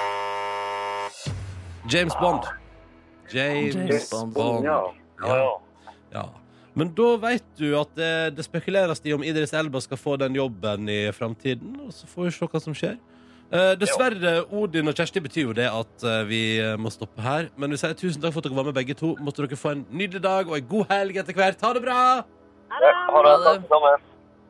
[SPEAKER 1] James Bond. James,
[SPEAKER 2] James
[SPEAKER 1] Bond.
[SPEAKER 2] Bond.
[SPEAKER 4] Ja. Oh, Ja, ja.
[SPEAKER 1] Ja. Men da veit du at det, det spekuleres i om Idris Elba skal få den jobben i framtiden. Og så får vi se hva som skjer. Eh, dessverre, Odin og Kjersti betyr jo det at eh, vi eh, må stoppe her. Men vi sier tusen takk for at dere var med, begge to. Måtte dere få en nydelig dag og en god helg etter hvert. Ha det bra!
[SPEAKER 4] Ha det. Takk det samme.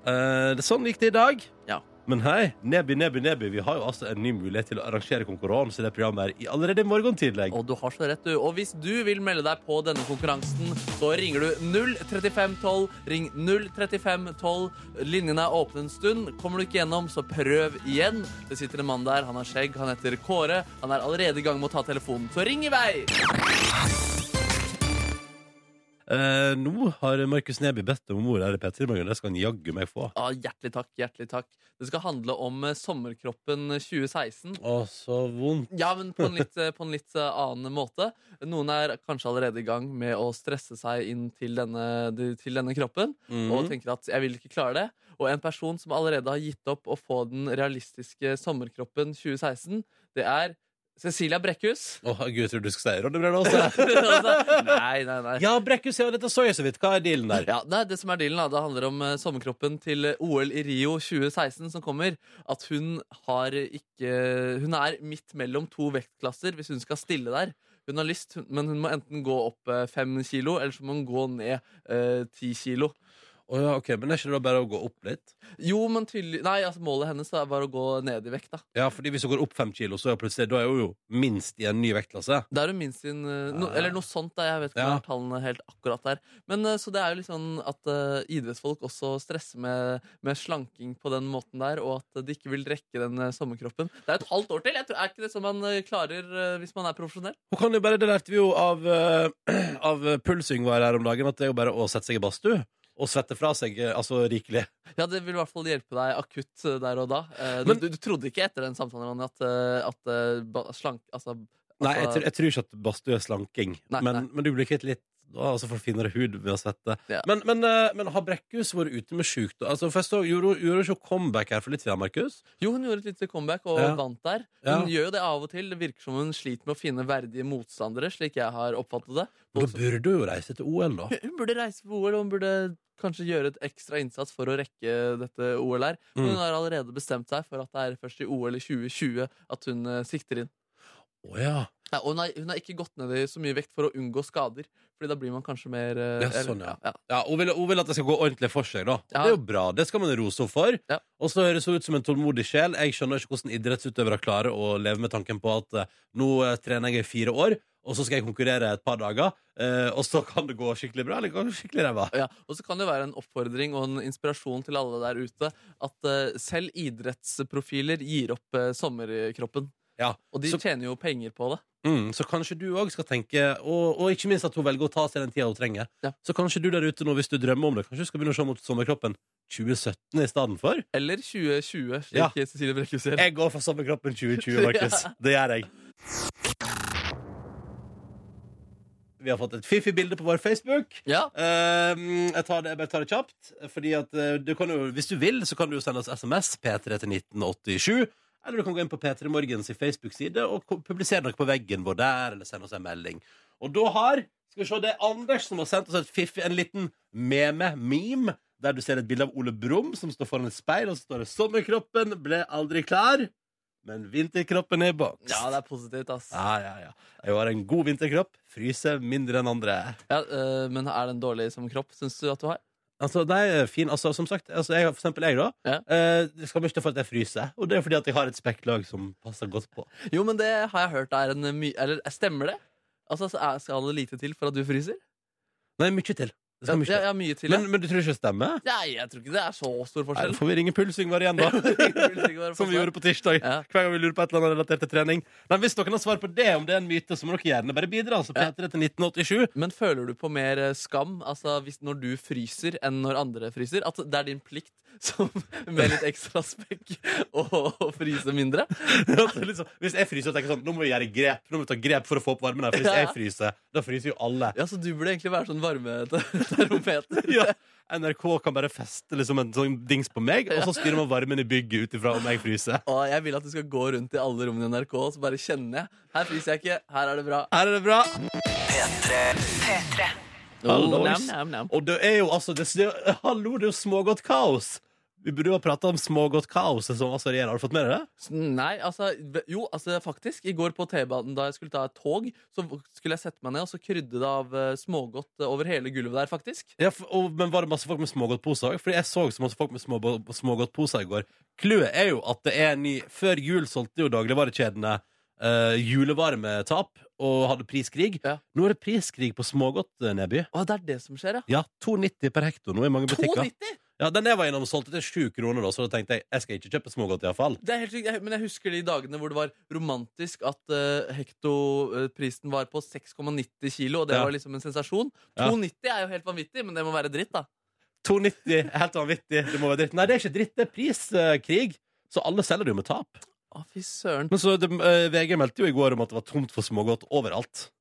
[SPEAKER 1] Eh, det Sånn gikk det i dag.
[SPEAKER 2] Ja.
[SPEAKER 1] Men hei, Neby, Neby, Neby, vi har jo altså en ny mulighet til å arrangere konkurranse i det programmet her i allerede i morgen tidlig.
[SPEAKER 2] Og du har så rett, du. Og hvis du vil melde deg på denne konkurransen, så ringer du 03512. Ring 03512. Linjene er åpne en stund. Kommer du ikke gjennom, så prøv igjen. Det sitter en mann der. Han har skjegg. Han heter Kåre. Han er allerede i gang med å ta telefonen, så ring i vei!
[SPEAKER 1] Eh, nå har Markus Neby bedt om ord her i P3 Morgen. Det skal han jaggu meg få.
[SPEAKER 2] Ja, hjertelig takk. hjertelig takk Det skal handle om eh, sommerkroppen 2016.
[SPEAKER 1] Å, så vondt.
[SPEAKER 2] Ja, men på en, litt, eh, på en litt eh, annen måte. Noen er kanskje allerede i gang med å stresse seg inn til denne, de- til denne kroppen. Og
[SPEAKER 1] Mhm.
[SPEAKER 2] tenker at jeg vil ikke klare det. Og en person som allerede har gitt opp å få den realistiske sommerkroppen 2016, det er Cecilia Brekkhus.
[SPEAKER 1] Å, herregud, jeg trodde du skulle si Ronnebrød også.
[SPEAKER 2] Altså, nei, nei, nei.
[SPEAKER 1] ja, Brekkhus, ja, dette så jeg så vidt. Hva er dealen der?
[SPEAKER 2] Ja, nei, det som er dealen da, Det handler om eh, sommerkroppen til eh, OL i Rio 2016 som kommer. At hun har ikke Hun er midt mellom to vektklasser hvis hun skal stille der. Hun har lyst, hun- men hun må enten gå opp eh, fem kilo, eller så må hun gå ned eh, ti kilo.
[SPEAKER 1] Å ja, ok, Men er ikke det da bare å gå opp litt?
[SPEAKER 2] Jo, men tydelig Nei, altså målet hennes da, var å gå ned i vekt, da.
[SPEAKER 1] Ja, fordi hvis hun går opp fem kilo, så er hun plutselig Da er hun jo minst i en ny vektklasse.
[SPEAKER 2] Det er jo minst sin eh, no,
[SPEAKER 1] Ja.
[SPEAKER 2] Eller noe sånt, da. Jeg vet ikke
[SPEAKER 1] Ja.
[SPEAKER 2] om tallene helt akkurat der. Men eh, så det er jo litt sånn at eh, idrettsfolk også stresser med, med slanking på den måten der, og at de ikke vil rekke den eh, sommerkroppen. Det er et halvt år til! Jeg tror, er ikke det som man eh, klarer eh, hvis man er profesjonell?
[SPEAKER 1] Hun kan jo bare, Det lærte vi jo av, uh, av eh, Pulsing var her om dagen, at det er jo bare å sette seg i badstue. Og svette fra seg eh, altså rikelig.
[SPEAKER 2] Ja, det vil i hvert fall hjelpe deg akutt eh, der og da. Eh, du,
[SPEAKER 1] Men-
[SPEAKER 2] du, du trodde ikke etter den samtalen Ronny, at, eh, at eh, ba- slank... Altså
[SPEAKER 1] Nei, jeg,
[SPEAKER 2] Altså-
[SPEAKER 1] tror- jeg tror ikke at badstue er slanking,
[SPEAKER 2] Nei,
[SPEAKER 1] men,
[SPEAKER 2] nei.
[SPEAKER 1] men du blir kvitt litt da, altså får finere hud ved å svette.
[SPEAKER 2] Ja.
[SPEAKER 1] Men, men, eh, men har Brekkhus vært ute med sjukdom? Altså, for jeg så, gjorde hun- gjorde hun ikke comeback her for litt siden, Markus?
[SPEAKER 2] Jo, hun gjorde et lite comeback og
[SPEAKER 1] Ja.
[SPEAKER 2] vant der.
[SPEAKER 1] Ja.
[SPEAKER 2] Hun gjør jo det av og til. Det virker som hun sliter med å finne verdige motstandere, slik jeg har oppfattet det.
[SPEAKER 1] Da
[SPEAKER 2] Folk som-
[SPEAKER 1] burde hun jo reise til OL, da.
[SPEAKER 2] Hun burde reise på OL, og hun burde kanskje gjøre et ekstra innsats for å rekke dette OL her. Men
[SPEAKER 1] Mm.
[SPEAKER 2] hun har allerede bestemt seg for at det er først i OL i 2020 at hun eh, sikter inn.
[SPEAKER 1] Å ja.
[SPEAKER 2] Nei, og hun har, hun har ikke gått ned i så mye vekt for å unngå skader, Fordi da blir man kanskje mer eh,
[SPEAKER 1] Ja,
[SPEAKER 2] eller-
[SPEAKER 1] sånn, ja.
[SPEAKER 2] ja.
[SPEAKER 1] ja hun, vil, hun vil at det skal gå ordentlig for seg, da.
[SPEAKER 2] Ja.
[SPEAKER 1] Det er jo bra. Det skal man rose henne for.
[SPEAKER 2] Ja.
[SPEAKER 1] Og så høres hun ut som en tålmodig sjel. Jeg skjønner ikke hvordan idrettsutøvere klarer å leve med tanken på at eh, nå eh, trener jeg i fire år, og så skal jeg konkurrere et par dager, eh, og så kan det gå skikkelig bra, eller kan det gå skikkelig ræva.
[SPEAKER 2] Ja, og så kan det være en oppfordring og en inspirasjon til alle der ute at eh, selv idrettsprofiler gir opp eh, sommerkroppen.
[SPEAKER 1] Ja,
[SPEAKER 2] Og de
[SPEAKER 1] så-
[SPEAKER 2] tjener jo penger på det.
[SPEAKER 1] Mm, så kanskje du òg skal tenke, og, og ikke minst at hun velger å ta seg den tida hun trenger.
[SPEAKER 2] Ja.
[SPEAKER 1] Så kanskje du der ute nå, hvis du drømmer om det, kanskje du skal begynne å se mot sommerkroppen 2017 i stedet for?
[SPEAKER 2] Eller 2020, slik
[SPEAKER 1] Ja. Eh.
[SPEAKER 2] Cecilie Brekkhus sier.
[SPEAKER 1] Jeg går for sommerkroppen 2020, Markus. Det gjør jeg. Vi har fått et fiffig bilde på vår Facebook.
[SPEAKER 2] Ja,
[SPEAKER 1] Ehm, jeg, tar det, jeg bare tar det kjapt. Fordi at eh, du kan jo, Hvis du vil, så kan du jo sende oss SMS P3 til 1987. Eller du kan gå inn på P3 Morgens Facebook-side og ko- publisere noe på veggen vår der. Eller sende oss en melding. Og da har skal vi se, det er Anders som har sendt oss et fiffig, en liten meme-meme. Der du ser et bilde av Ole Brumm som står foran et speil, og så står det 'Sommerkroppen ble aldri klar, men vinterkroppen er bak'.
[SPEAKER 2] ja det er positivt, ass.
[SPEAKER 1] ja, ja, ja. Jeg har en god vinterkropp. Fryser mindre enn andre.
[SPEAKER 2] Ja, øh, men er den dårlig som kropp, syns du at du har?
[SPEAKER 1] Altså, det er fin. Altså, som sagt, altså, jeg, for eksempel jeg, da.
[SPEAKER 2] Ja.
[SPEAKER 1] Eh, det skal mye til for at jeg fryser. Og det er fordi at jeg har et spekklag som passer godt på.
[SPEAKER 2] Jo, men det har jeg hørt er en my... Eller stemmer det? Altså, så er- Skal det lite til for at du fryser?
[SPEAKER 1] Nei, mye til. Det skal mye
[SPEAKER 2] ja,
[SPEAKER 1] til.
[SPEAKER 2] ja, mye til. ja.
[SPEAKER 1] Men, men du tror ikke det stemmer?
[SPEAKER 2] Nei, jeg tror ikke det er så stor
[SPEAKER 1] Nei,
[SPEAKER 2] forskjell.
[SPEAKER 1] da får vi ringe Pulsyngvar igjen, da. Som vi gjorde på tirsdag.
[SPEAKER 2] Ja.
[SPEAKER 1] Hver gang vi lurer på et eller annet relatert til trening. Men hvis noen har svar på det, om det er en myte, så må dere gjerne bare bidra. Altså,
[SPEAKER 2] Ja. Mm.
[SPEAKER 1] P3 til 1987.
[SPEAKER 2] Men føler du på mer eh, skam altså, hvis, når du fryser, enn når andre fryser? At det er din plikt som, med litt ekstra spekk å, å fryse mindre?
[SPEAKER 1] Altså, liksom, hvis jeg fryser, tenker jeg sånn Nå må vi gjøre grep. Nå må vi ta grep for å få opp varmen her. For hvis
[SPEAKER 2] Ja.
[SPEAKER 1] jeg fryser, da fryser jo alle.
[SPEAKER 2] Ja, Så du burde egentlig være sånn varmetermometer?
[SPEAKER 1] Ja. NRK kan bare feste liksom en sånn dings på meg, og så styrer man varmen i bygget ut ifra om jeg fryser.
[SPEAKER 2] Og jeg vil at du skal gå rundt i alle rommene i NRK og så bare kjenne jeg. Her fryser jeg ikke, her er det bra.
[SPEAKER 1] Her er det bra.
[SPEAKER 2] Oh,
[SPEAKER 1] Hallois.
[SPEAKER 2] nam, nam, nam.
[SPEAKER 1] Og det er jo altså det, det, Hallo, det er jo smågodt kaos. Vi burde jo ha prata om smågodt kaos. Som altså regjerer. Har du fått med deg det?
[SPEAKER 2] S- Nei, altså v- Jo, altså faktisk. I går på T-banen da jeg skulle ta et tog, så v- skulle jeg sette meg ned, og så krydde det av eh, smågodt eh, over hele gulvet der, faktisk.
[SPEAKER 1] Ja, f- og, men Var det masse folk med smågodtposer òg? Fordi jeg så så masse folk med små, smågodtposer i går. Clouet er jo at det er en ny Før jul solgte jo dagligvarekjedene eh, julevarer med tap og hadde priskrig.
[SPEAKER 2] Ja.
[SPEAKER 1] Nå er det priskrig på smågodt, eh, Neby.
[SPEAKER 2] Å, det er det som skjer, ja.
[SPEAKER 1] Ja, 2,90 per hekto nå i mange butikker.
[SPEAKER 2] 2,90!
[SPEAKER 1] Ja, Den jeg var innom, solgte til sju kroner, da, så da tenkte jeg jeg skal ikke kjøpe smågodt. i hvert fall
[SPEAKER 2] Det er helt riktig, jeg- Men jeg husker de dagene hvor det var romantisk at uh, hektoprisen var på 6,90 kilo, og
[SPEAKER 1] Ja.
[SPEAKER 2] det var liksom en sensasjon.
[SPEAKER 1] Ja.
[SPEAKER 2] 2,90 er jo helt vanvittig, men det må være dritt, da.
[SPEAKER 1] 2,90 er helt vanvittig. Det må være dritt. Nei, det er ikke dritt, det er priskrig. Så alle selger det jo med tap.
[SPEAKER 2] Å, fy søren.
[SPEAKER 1] Men så det, eh, VG meldte jo i går om at det var tomt for smågodt overalt.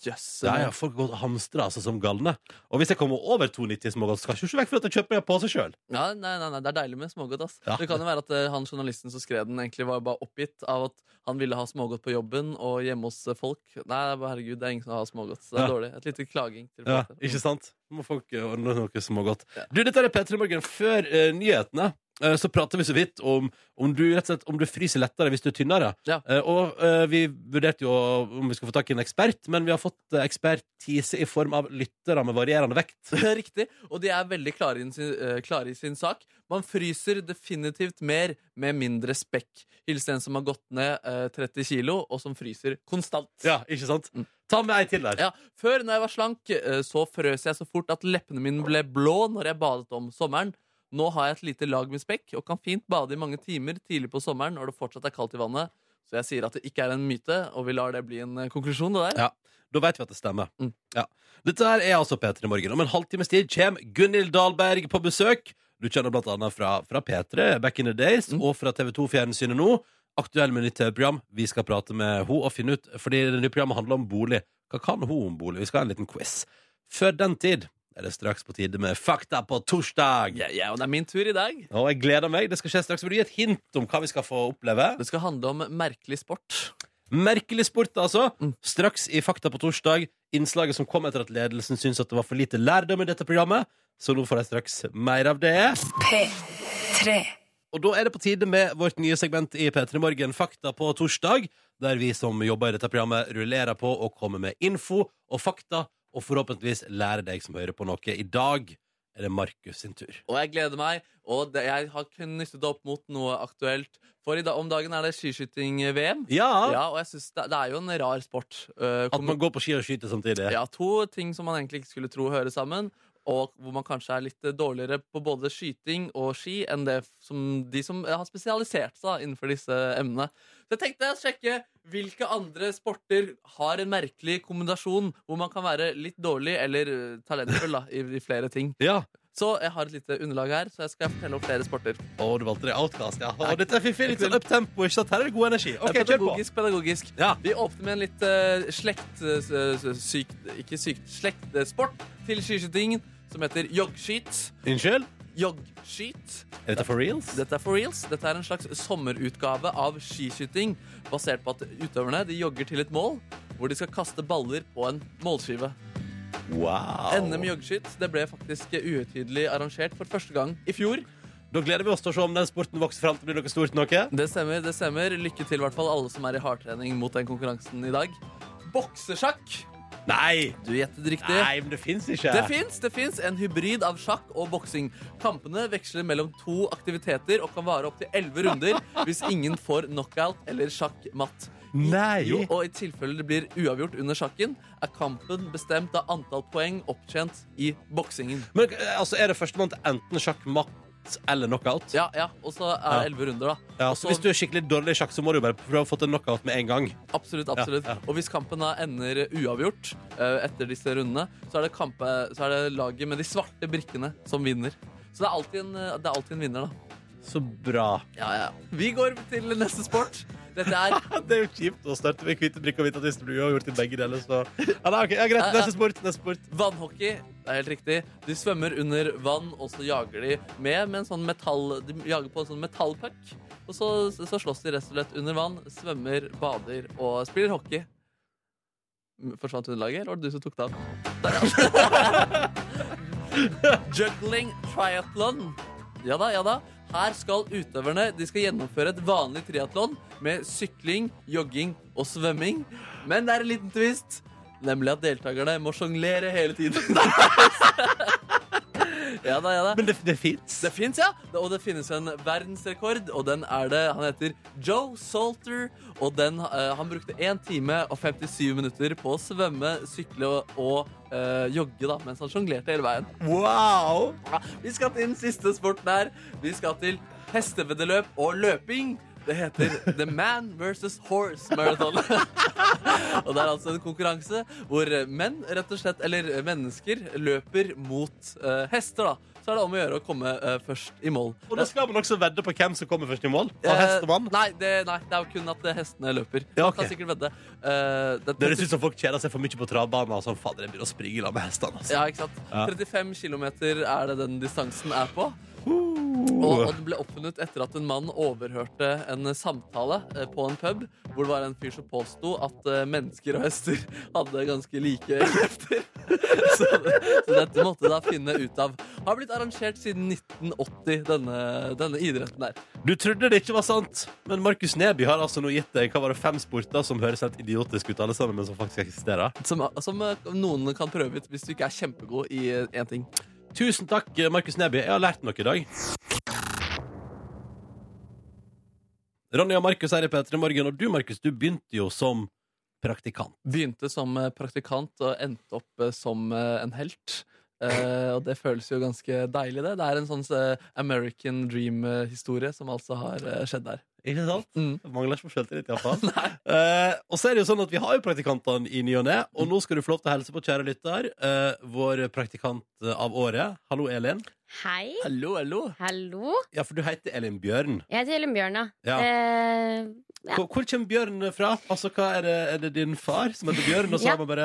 [SPEAKER 2] Jøss.
[SPEAKER 1] Ja, ja, Folk går og hamstrer altså som galne. Og hvis jeg kommer over 2,90 smågodt, så skal jeg ikke vekk for at jeg kjøper meg en pose sjøl.
[SPEAKER 2] Ja, nei, nei, nei, det er deilig med smågodt. ass
[SPEAKER 1] Ja.
[SPEAKER 2] Det kan jo være at eh, han journalisten som skrev den, egentlig var bare oppgitt av at han ville ha smågodt på jobben og hjemme hos eh, folk. Nei, det er bare, herregud, det er ingen som har smågodt. Så det er
[SPEAKER 1] Ja.
[SPEAKER 2] dårlig. Et lite klaging. til
[SPEAKER 1] Ja,
[SPEAKER 2] folk.
[SPEAKER 1] ikke sant? Må folk eh, ordne noe smågodt.
[SPEAKER 2] Ja.
[SPEAKER 1] Du, dette er P3 Morgen. Før eh, nyhetene eh, så prater vi så vidt om om du, rett og slett, om du fryser lettere hvis du er tynnere.
[SPEAKER 2] Ja.
[SPEAKER 1] Eh, og eh, vi vurderte jo om vi skulle få tak i en ekspert, men vi har fått eh, ekspertise i form av lyttere med varierende vekt.
[SPEAKER 2] Det er Riktig. Og de er veldig klare, i sin, eh, klare i sin sak. Man fryser definitivt mer med mindre spekk. Hils en som har gått ned eh, 30 kilo, og som fryser konstant.
[SPEAKER 1] Ja, ikke sant?
[SPEAKER 2] Mm.
[SPEAKER 1] Ta med ei til der.
[SPEAKER 2] Ja, Før, når jeg var slank, eh, så frøs jeg så fort at leppene mine ble blå når jeg badet om sommeren. Nå har jeg et lite lag med spekk og kan fint bade i mange timer tidlig på sommeren når det fortsatt er kaldt i vannet. Så jeg sier at det ikke er en myte, og vi lar det bli en eh, konklusjon, det der.
[SPEAKER 1] Ja. Da vet vi at det stemmer.
[SPEAKER 2] Mm.
[SPEAKER 1] Ja. Dette her er altså P3 Morgen. Om en halvtimes tid kommer Gunhild Dahlberg på besøk. Du kjenner blant annet fra, fra P3 back in the days
[SPEAKER 2] Mm.
[SPEAKER 1] og fra TV2 Fjernsynet nå. Aktuell med nytt TV-program. Vi skal prate med henne og finne ut, fordi det nye programmet handler om bolig. Hva kan hun om bolig? Vi skal ha en liten quiz. Før den tid er det straks på tide med Fakta på torsdag.
[SPEAKER 2] Ja, ja, og det er min tur i dag.
[SPEAKER 1] Og jeg gleder meg. Det skal skje straks. Vil du gi et hint om hva vi skal få oppleve?
[SPEAKER 2] Det skal handle om merkelig sport.
[SPEAKER 1] Merkelig sport, altså.
[SPEAKER 2] Mm.
[SPEAKER 1] Straks i Fakta på torsdag. Innslaget som kom etter at ledelsen syntes at det var for lite lærdom i dette programmet. Så nå får de straks mer av det.
[SPEAKER 5] P3.
[SPEAKER 1] Og da er det på tide med vårt nye segment i P3 Morgen, Fakta på torsdag. Der vi som jobber i dette programmet, rullerer på og kommer med info og fakta. Og forhåpentligvis lærer deg som hører på noe. I dag er det Markus sin tur.
[SPEAKER 2] Og jeg gleder meg, og det, jeg har knyttet det opp mot noe aktuelt. For i dag, om dagen er det skiskyting-VM.
[SPEAKER 1] Ja!
[SPEAKER 2] Ja, og jeg synes det, det er jo en rar sport. Eh,
[SPEAKER 1] At man går på ski og skyter samtidig.
[SPEAKER 2] ja, to ting som man egentlig ikke skulle tro hører sammen, og hvor man kanskje er litt eh, dårligere på både skyting og ski enn det f- som de som eh, har spesialisert seg da, innenfor disse emnene. Så jeg tenkte jeg sjekke hvilke andre sporter har en merkelig kombinasjon hvor man kan være litt dårlig eller eh, talentfull da, i, i flere ting.
[SPEAKER 1] ja.
[SPEAKER 2] Så jeg har et lite underlag her, så jeg skal fortelle om flere sporter.
[SPEAKER 1] Å, du valgte det. Outcast, ja. Og dette er fiffig. Litt sånn uptempo. ikke sant? Her er det god energi.
[SPEAKER 2] Det
[SPEAKER 1] OK,
[SPEAKER 2] er
[SPEAKER 1] kjør på.
[SPEAKER 2] pedagogisk, pedagogisk.
[SPEAKER 1] Ja.
[SPEAKER 2] Vi åpner med en litt eh, slekt... eh, s- s- syk, ikke sykt, slektsport til skiskytingen, som heter joggskyt.
[SPEAKER 1] Unnskyld?
[SPEAKER 2] Joggskyt.
[SPEAKER 1] Er dette for reals?
[SPEAKER 2] Dette er for reals. Dette er en slags sommerutgave av skiskyting, basert på at utøverne de jogger til et mål, hvor de skal kaste baller på en målskive.
[SPEAKER 1] Wow.
[SPEAKER 2] NM i joggskyt det ble faktisk uhøytidelig arrangert for første gang i fjor.
[SPEAKER 1] Da gleder vi oss til å se om den sporten vokser fram til å bli noe stort noe.
[SPEAKER 2] Det stemmer. det stemmer. Lykke til i hvert fall alle som er i hardtrening mot den konkurransen i dag. Boksesjakk.
[SPEAKER 1] Nei!
[SPEAKER 2] Du gjettet riktig.
[SPEAKER 1] Nei, men det fins ikke.
[SPEAKER 2] Det fins det finnes en hybrid av sjakk og boksing. Kampene veksler mellom to aktiviteter og kan vare opptil elleve runder hvis ingen får knockout eller sjakkmatt.
[SPEAKER 1] Nei.
[SPEAKER 2] Jo, og i tilfelle det blir uavgjort under sjakken, er kampen bestemt av antall poeng opptjent i boksingen.
[SPEAKER 1] Men eh, altså, er det førstemann til enten sjakkmatt eller knockout?
[SPEAKER 2] Ja, ja, og så er det elleve runder, da.
[SPEAKER 1] Ja,
[SPEAKER 2] Og
[SPEAKER 1] så hvis du er skikkelig dårlig i sjakk, så må du bare prøve å få til knockout med en gang.
[SPEAKER 2] Absolutt, absolutt.
[SPEAKER 1] Ja,
[SPEAKER 2] Og hvis kampen da ender uavgjort eh, etter disse rundene, så er, det kampe, så er det laget med de svarte brikkene som vinner. Så det er alltid en, eh, det er alltid en vinner, da.
[SPEAKER 1] Så bra.
[SPEAKER 2] Ja, ja. Vi går til neste sport. Dette er
[SPEAKER 1] Det er jo kjipt å starte med hvite brikker og hvite artister. Du har gjort i begge deler, så ja, nei, ok, ja, Greit. Neste sport. Neste sport.
[SPEAKER 2] vannhockey. Det er helt riktig. De svømmer under vann, og så jager de med, med en sånn metall, de jager på en sånn metallpuck. Og så, så slåss de rett og slett under vann, svømmer, bader og spiller hockey. M- Forsvant underlaget, eller var det du som tok det av? Der, ja. Juggling triathlon. Ja da, ja da. Her skal utøverne de skal gjennomføre et vanlig triatlon med sykling, jogging og svømming. Men det er en liten twist. Nemlig at deltakerne må sjonglere hele tiden. Ja da, ja da.
[SPEAKER 1] Men det, det fins.
[SPEAKER 2] Det fins, ja. Og det finnes en verdensrekord, og den er det Han heter Joe Salter, og den eh, Han brukte 1 time og 57 minutter på å svømme, sykle og, og eh, jogge, da, mens han sjonglerte hele veien.
[SPEAKER 1] Wow!
[SPEAKER 2] Ja, Vi skal til den siste sporten her. Vi skal til hesteveddeløp og løping. Det heter The Man versus Horse Marathon. og det er altså en konkurranse hvor menn, rett og slett, eller mennesker, løper mot eh, hester. da. Så er det om å gjøre å komme eh, først i mål.
[SPEAKER 1] Og da skal man også vedde på hvem som kommer først i mål. Av
[SPEAKER 2] Eh,
[SPEAKER 1] hest og mann.
[SPEAKER 2] Nei, det, nei, det er jo kun at eh, hestene løper.
[SPEAKER 1] Ja,
[SPEAKER 2] Man
[SPEAKER 1] ok.
[SPEAKER 2] kan sikkert vedde. Eh, det er
[SPEAKER 1] Det høres ut som folk kjeder seg for mye på travbanen. Altså, fader, jeg begynner å springe i lag med hestene. Altså.
[SPEAKER 2] Ja, ikke sant?
[SPEAKER 1] Ja.
[SPEAKER 2] 35 km er det den distansen er på. Og, og
[SPEAKER 1] Uh.
[SPEAKER 2] den ble oppfunnet etter at en mann overhørte en samtale eh, på en pub, hvor det var en fyr som påsto at eh, mennesker og hester hadde ganske like krefter. så, så dette måtte de da finne ut av. Har blitt arrangert siden 1980, denne, denne idretten der.
[SPEAKER 1] Du trodde det ikke var sant, men Markus Neby har altså nå gitt deg hva var det fem sporter som høres helt idiotisk ut, alle sammen, men som faktisk eksisterer.
[SPEAKER 2] Som, som eh, noen kan prøve ut hvis du ikke er kjempegod i eh, én ting.
[SPEAKER 1] Tusen takk, Markus Neby. Jeg har lært noe i dag. Ronny og Markus her i P3 Morgen, og du, Markus, du begynte jo som praktikant.
[SPEAKER 2] Begynte som eh, praktikant og endte opp eh, som eh, en helt. Eh, og det føles jo ganske deilig, det. Det er en sånn eh, American dream-historie som altså har eh, skjedd der.
[SPEAKER 1] Ikke sant?
[SPEAKER 2] Mm.
[SPEAKER 1] Mangler ikke på selvtillit, iallfall. uh, og så er det jo sånn at vi har jo praktikantene i ny og ne, og nå skal du få lov til å helse på, kjære lytter, eh, vår praktikant eh, av året. Hallo, Elin.
[SPEAKER 6] Hei.
[SPEAKER 2] Hallo, hallo.
[SPEAKER 6] Hallo.
[SPEAKER 1] Ja, for du heter Elin Bjørn.
[SPEAKER 6] Jeg heter Ellen Bjørna.
[SPEAKER 1] Ja.
[SPEAKER 6] Eh, Ja.
[SPEAKER 1] Hvor, hvor kommer Bjørn fra? Altså, hva er det, er det din far som heter Bjørn? Og så
[SPEAKER 6] Ja.
[SPEAKER 1] har man bare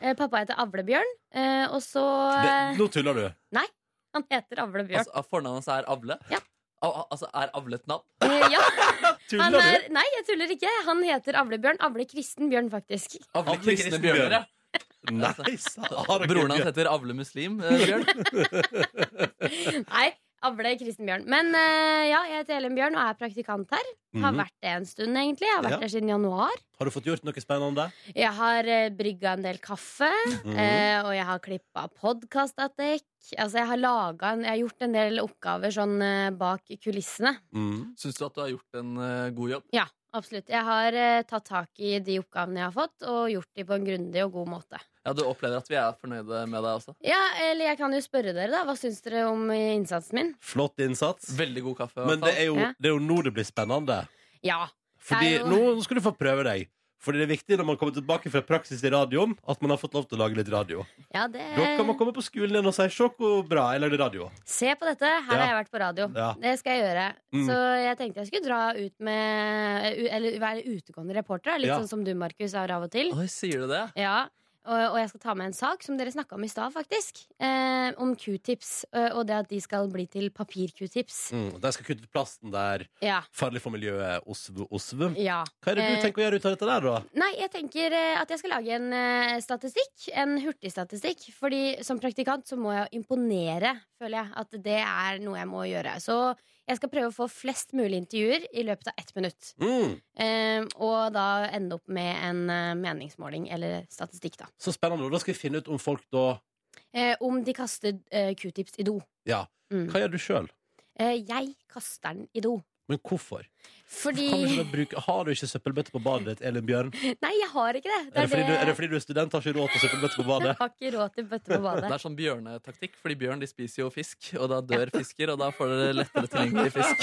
[SPEAKER 6] eh, pappa heter Avlebjørn, eh, og så
[SPEAKER 1] det,
[SPEAKER 6] eh,
[SPEAKER 1] Nå tuller du.
[SPEAKER 6] Han heter Avlebjørn.
[SPEAKER 2] Altså, Fornavnet hans er Avle?
[SPEAKER 6] Ja.
[SPEAKER 2] Al al- altså, er Avle et navn?
[SPEAKER 6] Eh, ja, han
[SPEAKER 1] Altså, Tuller
[SPEAKER 6] er, nei, jeg tuller ikke. Han heter Avlebjørn. Avle Kristen Bjørn, faktisk.
[SPEAKER 1] Avle
[SPEAKER 2] Avle kristne
[SPEAKER 1] Kristen
[SPEAKER 2] bjørner,
[SPEAKER 1] Bjørn.
[SPEAKER 2] ja.
[SPEAKER 1] du? Nei, sa har dere
[SPEAKER 2] Broren hans
[SPEAKER 1] Bjørn?
[SPEAKER 2] heter Avle muslim eh, bjørn.
[SPEAKER 6] Nei, Avle Kristen Bjørn. Men eh, ja, jeg heter Ellen Bjørn og er praktikant her. Har
[SPEAKER 1] Mhm.
[SPEAKER 6] vært det en stund, egentlig. Jeg har vært
[SPEAKER 1] Ja.
[SPEAKER 6] her siden januar.
[SPEAKER 1] Har du fått gjort noe spennende?
[SPEAKER 6] Jeg har uh, brygga en del kaffe,
[SPEAKER 1] Mhm.
[SPEAKER 6] eh, og jeg har klippa podkastattek. Altså, jeg har laga en Jeg har gjort en del oppgaver sånn eh, bak kulissene.
[SPEAKER 1] Mm.
[SPEAKER 2] Syns du at du har gjort en eh, god jobb?
[SPEAKER 6] Ja, absolutt. Jeg har eh, tatt tak i de oppgavene jeg har fått, og gjort de på en grundig og god måte.
[SPEAKER 2] Ja, Du opplever at vi er fornøyde med deg også?
[SPEAKER 6] Ja, eller jeg kan jo spørre dere, da. Hva syns dere om eh, innsatsen min?
[SPEAKER 1] Flott innsats.
[SPEAKER 2] Veldig god kaffe. i
[SPEAKER 1] Men
[SPEAKER 2] hvert
[SPEAKER 1] det
[SPEAKER 2] fall.
[SPEAKER 1] er, jo,
[SPEAKER 6] Ja.
[SPEAKER 1] det er jo nå det blir spennende.
[SPEAKER 6] Ja.
[SPEAKER 1] Fordi
[SPEAKER 6] Det er jo-
[SPEAKER 1] nå skal du få prøve deg. Fordi det er viktig når man kommer tilbake fra praksis i radioen, at man har fått lov til å lage litt radio.
[SPEAKER 6] ja det...
[SPEAKER 1] Da kan man komme på skolen igjen og si 'se hvor bra jeg lagde radio'.
[SPEAKER 6] Se på dette. Her har jeg vært på radio.
[SPEAKER 1] Ja.
[SPEAKER 6] Det skal jeg gjøre.
[SPEAKER 1] Mm.
[SPEAKER 6] Så jeg tenkte jeg skulle dra ut med eh, u- Eller være utegående reporter. da. Litt
[SPEAKER 1] Ja. Ah.
[SPEAKER 6] sånn som du, Markus, er av og til.
[SPEAKER 2] Oi, sier du det?
[SPEAKER 6] Ja, og, og jeg skal ta med en sak som dere snakka om i stad, faktisk. Eh, om q-tips, eh, og det at de skal bli til papir-q-tips.
[SPEAKER 1] Mm. og De skal kutte ut plasten der.
[SPEAKER 6] Ja.
[SPEAKER 1] Farlig for miljøet. Osv. Osv.
[SPEAKER 6] Ja.
[SPEAKER 1] Hva er det du
[SPEAKER 6] Eh,
[SPEAKER 1] tenker å gjøre ut av dette der, da?
[SPEAKER 6] Nei, jeg tenker eh, at jeg skal lage en eh, statistikk. En hurtigstatistikk. Fordi som praktikant så må jeg imponere, føler jeg. At det er noe jeg må gjøre. Så jeg skal prøve å få flest mulig intervjuer i løpet av ett minutt.
[SPEAKER 1] Mm.
[SPEAKER 6] Eh, og da ende opp med en eh, meningsmåling eller statistikk, da.
[SPEAKER 1] Så spennende. Og da skal vi finne ut om folk da
[SPEAKER 6] Eh, om de kaster eh, q-tips i do.
[SPEAKER 1] Ja.
[SPEAKER 6] Mm.
[SPEAKER 1] Hva gjør du sjøl?
[SPEAKER 6] Eh, jeg kaster den i do.
[SPEAKER 1] Men hvorfor?
[SPEAKER 6] Fordi
[SPEAKER 1] Kan du ikke da bruke, har du ikke søppelbøtte på badet ditt, Elin Bjørn?
[SPEAKER 6] Nei, jeg har ikke det.
[SPEAKER 1] Er det, fordi du, er det fordi du er student, har ikke råd til søppelbøtte på badet?
[SPEAKER 6] Jeg har ikke råd til bøtte på badet.
[SPEAKER 2] Det er sånn bjørnetaktikk, fordi bjørn de spiser jo fisk, og da dør fisker, og da får dere lettere tilgjengelig fisk.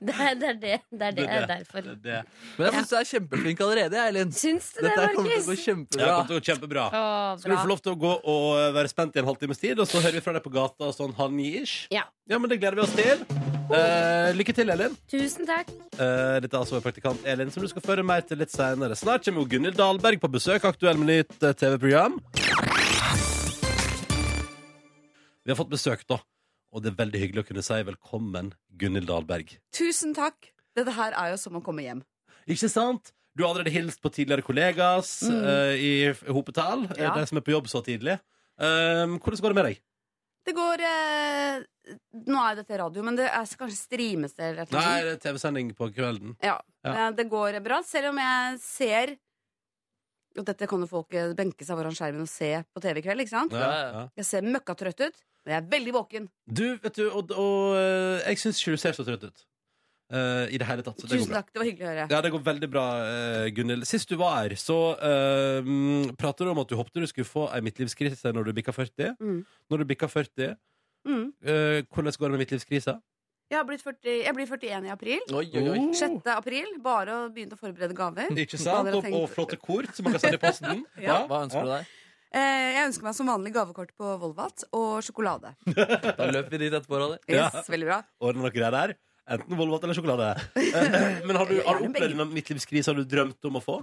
[SPEAKER 6] Det er det. Er det, det, er det,
[SPEAKER 1] Det er
[SPEAKER 6] derfor.
[SPEAKER 1] Det.
[SPEAKER 2] Men jeg syns du er kjempeflink allerede, jeg, Elin.
[SPEAKER 6] Syns du det,
[SPEAKER 2] Dette her kommer til å
[SPEAKER 6] Markus?
[SPEAKER 2] gå
[SPEAKER 1] Ja, det kommer
[SPEAKER 2] kjempebra.
[SPEAKER 1] til å gå kjempebra.
[SPEAKER 6] Å,
[SPEAKER 1] Skal du
[SPEAKER 6] bra.
[SPEAKER 1] få lov til å gå og eh, være spent i en halvtimes tid, og så hører vi fra deg på gata og sånn halv ni-ish?
[SPEAKER 6] Ja.
[SPEAKER 1] men det gleder vi oss til. Eh, lykke til, Elin.
[SPEAKER 6] Tusen takk.
[SPEAKER 1] Eh, dette er altså vår praktikant Elin, som du skal føre mer til litt senere. Snart kommer jo Gunhild Dahlberg på besøk, aktuell med nytt eh, TV-program. Vi har fått besøk, da. Og det er veldig hyggelig å kunne si velkommen, Gunhild Dahlberg.
[SPEAKER 7] Tusen takk. Dette her er jo som å komme hjem.
[SPEAKER 1] Ikke sant? Du har allerede hilst på tidligere kollegas
[SPEAKER 7] Mm.
[SPEAKER 1] eh, i f- hopetall. eh,
[SPEAKER 7] Ja.
[SPEAKER 1] De som er på jobb så tidlig. Um, hvordan går det med deg?
[SPEAKER 7] Det går eh, Nå er jo dette radio, men det er kanskje streames det eller et eller
[SPEAKER 1] Nei,
[SPEAKER 7] annet.
[SPEAKER 1] det er TV-sending på kvelden.
[SPEAKER 7] Ja.
[SPEAKER 1] Ja.
[SPEAKER 7] Eh, Det går bra, selv om jeg ser Og dette kan jo folk eh, benke seg foran skjermen og se på TV i kveld, ikke sant?
[SPEAKER 1] Ja, ja.
[SPEAKER 7] Jeg ser møkkatrøtt ut. Men jeg er veldig våken.
[SPEAKER 1] Du, vet du, og, og eh, jeg syns ikke du ser så trøtt ut. Eh, I det hele tatt. Så det går
[SPEAKER 7] Tusen
[SPEAKER 1] bra.
[SPEAKER 7] takk, det var hyggelig å høre.
[SPEAKER 1] Ja, det går veldig bra, eh, Gunhild. Sist du var her, så eh, mm, pratet du om at du håpte du skulle få ei midtlivskrise når du bikka 40.
[SPEAKER 7] Mm.
[SPEAKER 1] Når du bikka 40,
[SPEAKER 7] Mm.
[SPEAKER 1] eh, hvordan går det med midtlivskrisa?
[SPEAKER 7] Jeg, har blitt 40, jeg blir 41 i april.
[SPEAKER 1] Oh.
[SPEAKER 2] Oi, oi,
[SPEAKER 8] Oh.
[SPEAKER 2] oi.
[SPEAKER 7] 6. april. Bare å begynne å forberede gaver.
[SPEAKER 1] Oh, Ikke sant? Og, og flotte kort som man kan sende i posten.
[SPEAKER 7] Ja.
[SPEAKER 2] Hva ønsker du deg?
[SPEAKER 7] Eh, jeg ønsker meg som vanlig gavekort på Volvat og sjokolade.
[SPEAKER 2] Da løper vi dit etterpå, Ronny.
[SPEAKER 1] Ja.
[SPEAKER 7] Yes, Veldig bra.
[SPEAKER 1] Ordne noe greier der. Enten Volvat eller sjokolade. Eh, Men har du, har du opplevd en midtlivskrise har du drømt om å få?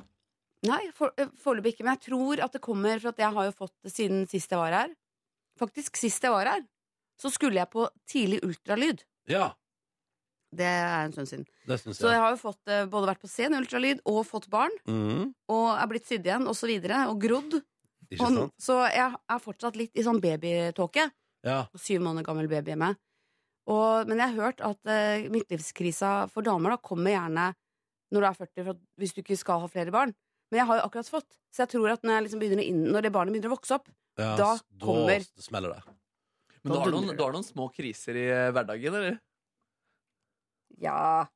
[SPEAKER 7] Nei, for- eh, foreløpig ikke. Men jeg tror at det kommer, for at jeg har jo fått det siden sist jeg var her. Faktisk, sist jeg var her, så skulle jeg på tidlig ultralyd.
[SPEAKER 1] Ja,
[SPEAKER 7] Det er en stund siden.
[SPEAKER 1] det syns
[SPEAKER 7] Så jeg
[SPEAKER 1] jeg.
[SPEAKER 7] har jo fått, eh, både vært på sen ultralyd og fått barn,
[SPEAKER 1] Mm,
[SPEAKER 7] og er blitt sydd igjen, og så videre, og grodd.
[SPEAKER 1] ikke
[SPEAKER 7] Og,
[SPEAKER 1] sant?
[SPEAKER 7] n- så jeg er fortsatt litt i sånn babytåke.
[SPEAKER 1] Ja.
[SPEAKER 7] og Syv måneder gammel baby hjemme. Og, men jeg har hørt at eh, midtlivskrisa for damer da kommer gjerne når du er 40, for at, hvis du ikke skal ha flere barn. Men jeg har jo akkurat fått, så jeg tror at når, jeg liksom begynner å inn, når det barnet begynner å vokse opp
[SPEAKER 1] Ja,
[SPEAKER 7] Da
[SPEAKER 1] s-
[SPEAKER 7] kommer-
[SPEAKER 1] Da smeller det.
[SPEAKER 2] Men du
[SPEAKER 7] Da
[SPEAKER 2] har,
[SPEAKER 7] dundrer
[SPEAKER 2] noen,
[SPEAKER 7] det.
[SPEAKER 2] du har noen små kriser i eh, hverdagen, eller?
[SPEAKER 7] Ja.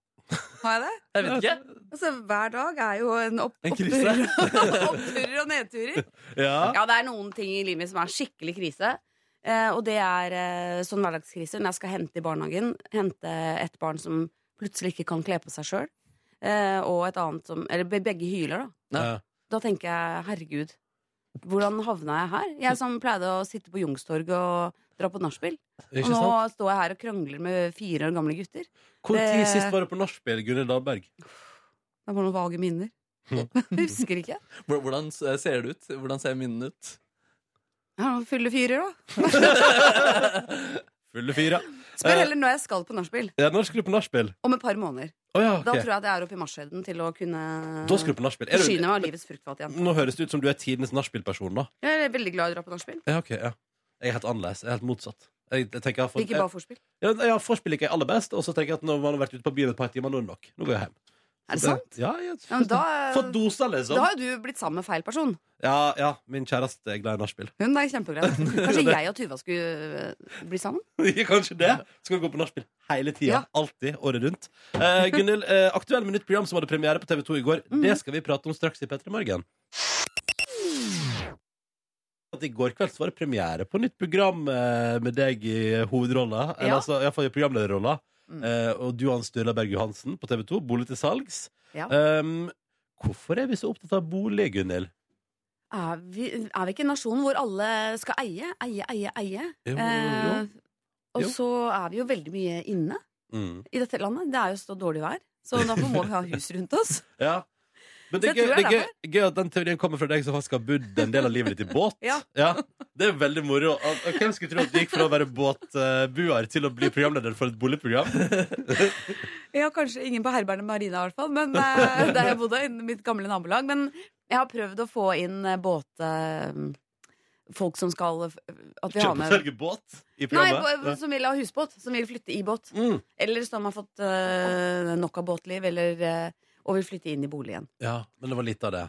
[SPEAKER 7] Har jeg det?
[SPEAKER 2] Jeg vet ikke.
[SPEAKER 7] Altså, hver dag er jo en, opp
[SPEAKER 2] En krise.
[SPEAKER 7] oppturer, oppturer og nedturer.
[SPEAKER 1] Ja.
[SPEAKER 7] Ja, det er noen ting i livet mitt som er skikkelig krise. Eh, og det er eh, sånn hverdagskrise når jeg skal hente i barnehagen. Hente et barn som plutselig ikke kan kle på seg sjøl. Eh, og et annet som Eller be- begge hyler, da.
[SPEAKER 1] Ja.
[SPEAKER 7] Da tenker jeg herregud, hvordan havna jeg her? Jeg som pleide å sitte på Youngstorget og dra på nachspiel. Og
[SPEAKER 1] Ikke
[SPEAKER 7] nå
[SPEAKER 1] sant?
[SPEAKER 7] står jeg her og krangler med fire år gamle gutter.
[SPEAKER 1] Hvor tid
[SPEAKER 7] det-
[SPEAKER 1] sist var du på nachspiel, Gunhild Dahlberg?
[SPEAKER 7] Det er bare noen vage minner.
[SPEAKER 1] Hm.
[SPEAKER 7] Jeg husker ikke.
[SPEAKER 2] Hvor- Hvordan s-
[SPEAKER 8] eh,
[SPEAKER 2] ser det ut? Hvordan ser minnene ut?
[SPEAKER 7] Jeg har noen fulle fyrer, da.
[SPEAKER 1] Fulle fire.
[SPEAKER 7] Spør
[SPEAKER 1] Eh.
[SPEAKER 7] heller når jeg skal på nachspiel.
[SPEAKER 1] Ja, når skal du på nachspiel?
[SPEAKER 7] Om et par måneder.
[SPEAKER 1] Å ja,
[SPEAKER 7] Da
[SPEAKER 1] ok.
[SPEAKER 7] tror jeg at jeg er oppe i marsjhøyden til å kunne
[SPEAKER 1] Da skal du på nachspiel. Er du-
[SPEAKER 7] forsyne meg av livets fruktfat igjen.
[SPEAKER 1] Nå høres det ut som du er tidenes nachspiel-person, da.
[SPEAKER 7] Jeg er veldig glad i å dra på nachspiel.
[SPEAKER 1] Ja, ok, ja. Jeg er helt annerledes. Jeg er helt motsatt. Jeg, jeg tenker jeg har fått,
[SPEAKER 7] Ikke bare forspill.
[SPEAKER 1] Ja, ja, Forspill liker jeg aller best, og så tenker jeg at når man har vært ute på byen et par timer, nå er det nok. Nå går jeg hjem.
[SPEAKER 7] Er det sant?
[SPEAKER 1] Ja, jeg,
[SPEAKER 7] Ja, men da,
[SPEAKER 1] Fått dosa, liksom.
[SPEAKER 7] da har jo du blitt sammen med feil person.
[SPEAKER 1] Ja, ja, min kjæreste er glad i nachspiel.
[SPEAKER 7] Hun er kjempeglad. Kanskje jeg og Tuva skulle eh, bli sammen?
[SPEAKER 1] Ja, Kanskje det. Så kan vi gå på nachspiel hele tida.
[SPEAKER 7] Ja.
[SPEAKER 1] Alltid. Året rundt. Eh, Gunhild, eh, Aktuell med nytt program som hadde premiere på TV2 i går,
[SPEAKER 7] Mhm.
[SPEAKER 1] det skal vi prate om straks i P3 Morgen. At I går kveld så var det premiere på nytt program eh, med deg i hovedrolla. Eller
[SPEAKER 7] Ja.
[SPEAKER 1] altså, iallfall i programlederrolla.
[SPEAKER 7] Mm.
[SPEAKER 1] Eh, og du og Ann Sturla Berg Johansen på TV2. Bolig til salgs.
[SPEAKER 7] Ja.
[SPEAKER 1] Um, hvorfor er vi så opptatt av bolig, Gunhild?
[SPEAKER 7] Er vi, er vi ikke en nasjon hvor alle skal eie? Eie, eie, eie.
[SPEAKER 1] Jo,
[SPEAKER 7] Eh, og
[SPEAKER 1] Jo.
[SPEAKER 7] så er vi jo veldig mye inne
[SPEAKER 1] Mm.
[SPEAKER 7] i dette landet. Det er jo så dårlig vær, så derfor må vi ha hus rundt oss.
[SPEAKER 1] Ja. Men det er,
[SPEAKER 7] Så jeg
[SPEAKER 1] gøy,
[SPEAKER 7] tror
[SPEAKER 1] det
[SPEAKER 7] jeg
[SPEAKER 1] er gøy, gøy at den teorien kommer fra deg som faktisk har bodd en del av livet ditt i båt.
[SPEAKER 7] Ja.
[SPEAKER 1] Det er veldig moro. Og- og Hvem skulle tro at du gikk fra å være båtbuer til å bli programleder for et boligprogram?
[SPEAKER 7] Ja, kanskje ingen på Herbergene Marina i hvert fall, men eh, der jeg bodde, i mitt gamle nabolag. Men jeg har prøvd å få inn eh, båt... eh, Folk som skal eh, At vi har
[SPEAKER 1] Kjøpe og
[SPEAKER 7] med
[SPEAKER 1] selge båt i
[SPEAKER 7] Nei,
[SPEAKER 1] programmet?
[SPEAKER 7] på- som vil ha husbåt. Som vil flytte i båt.
[SPEAKER 1] Mm.
[SPEAKER 7] Eller som har fått eh, nok av båtliv, eller eh, Og vil flytte inn i boligen.
[SPEAKER 1] Ja, men det var litt av det.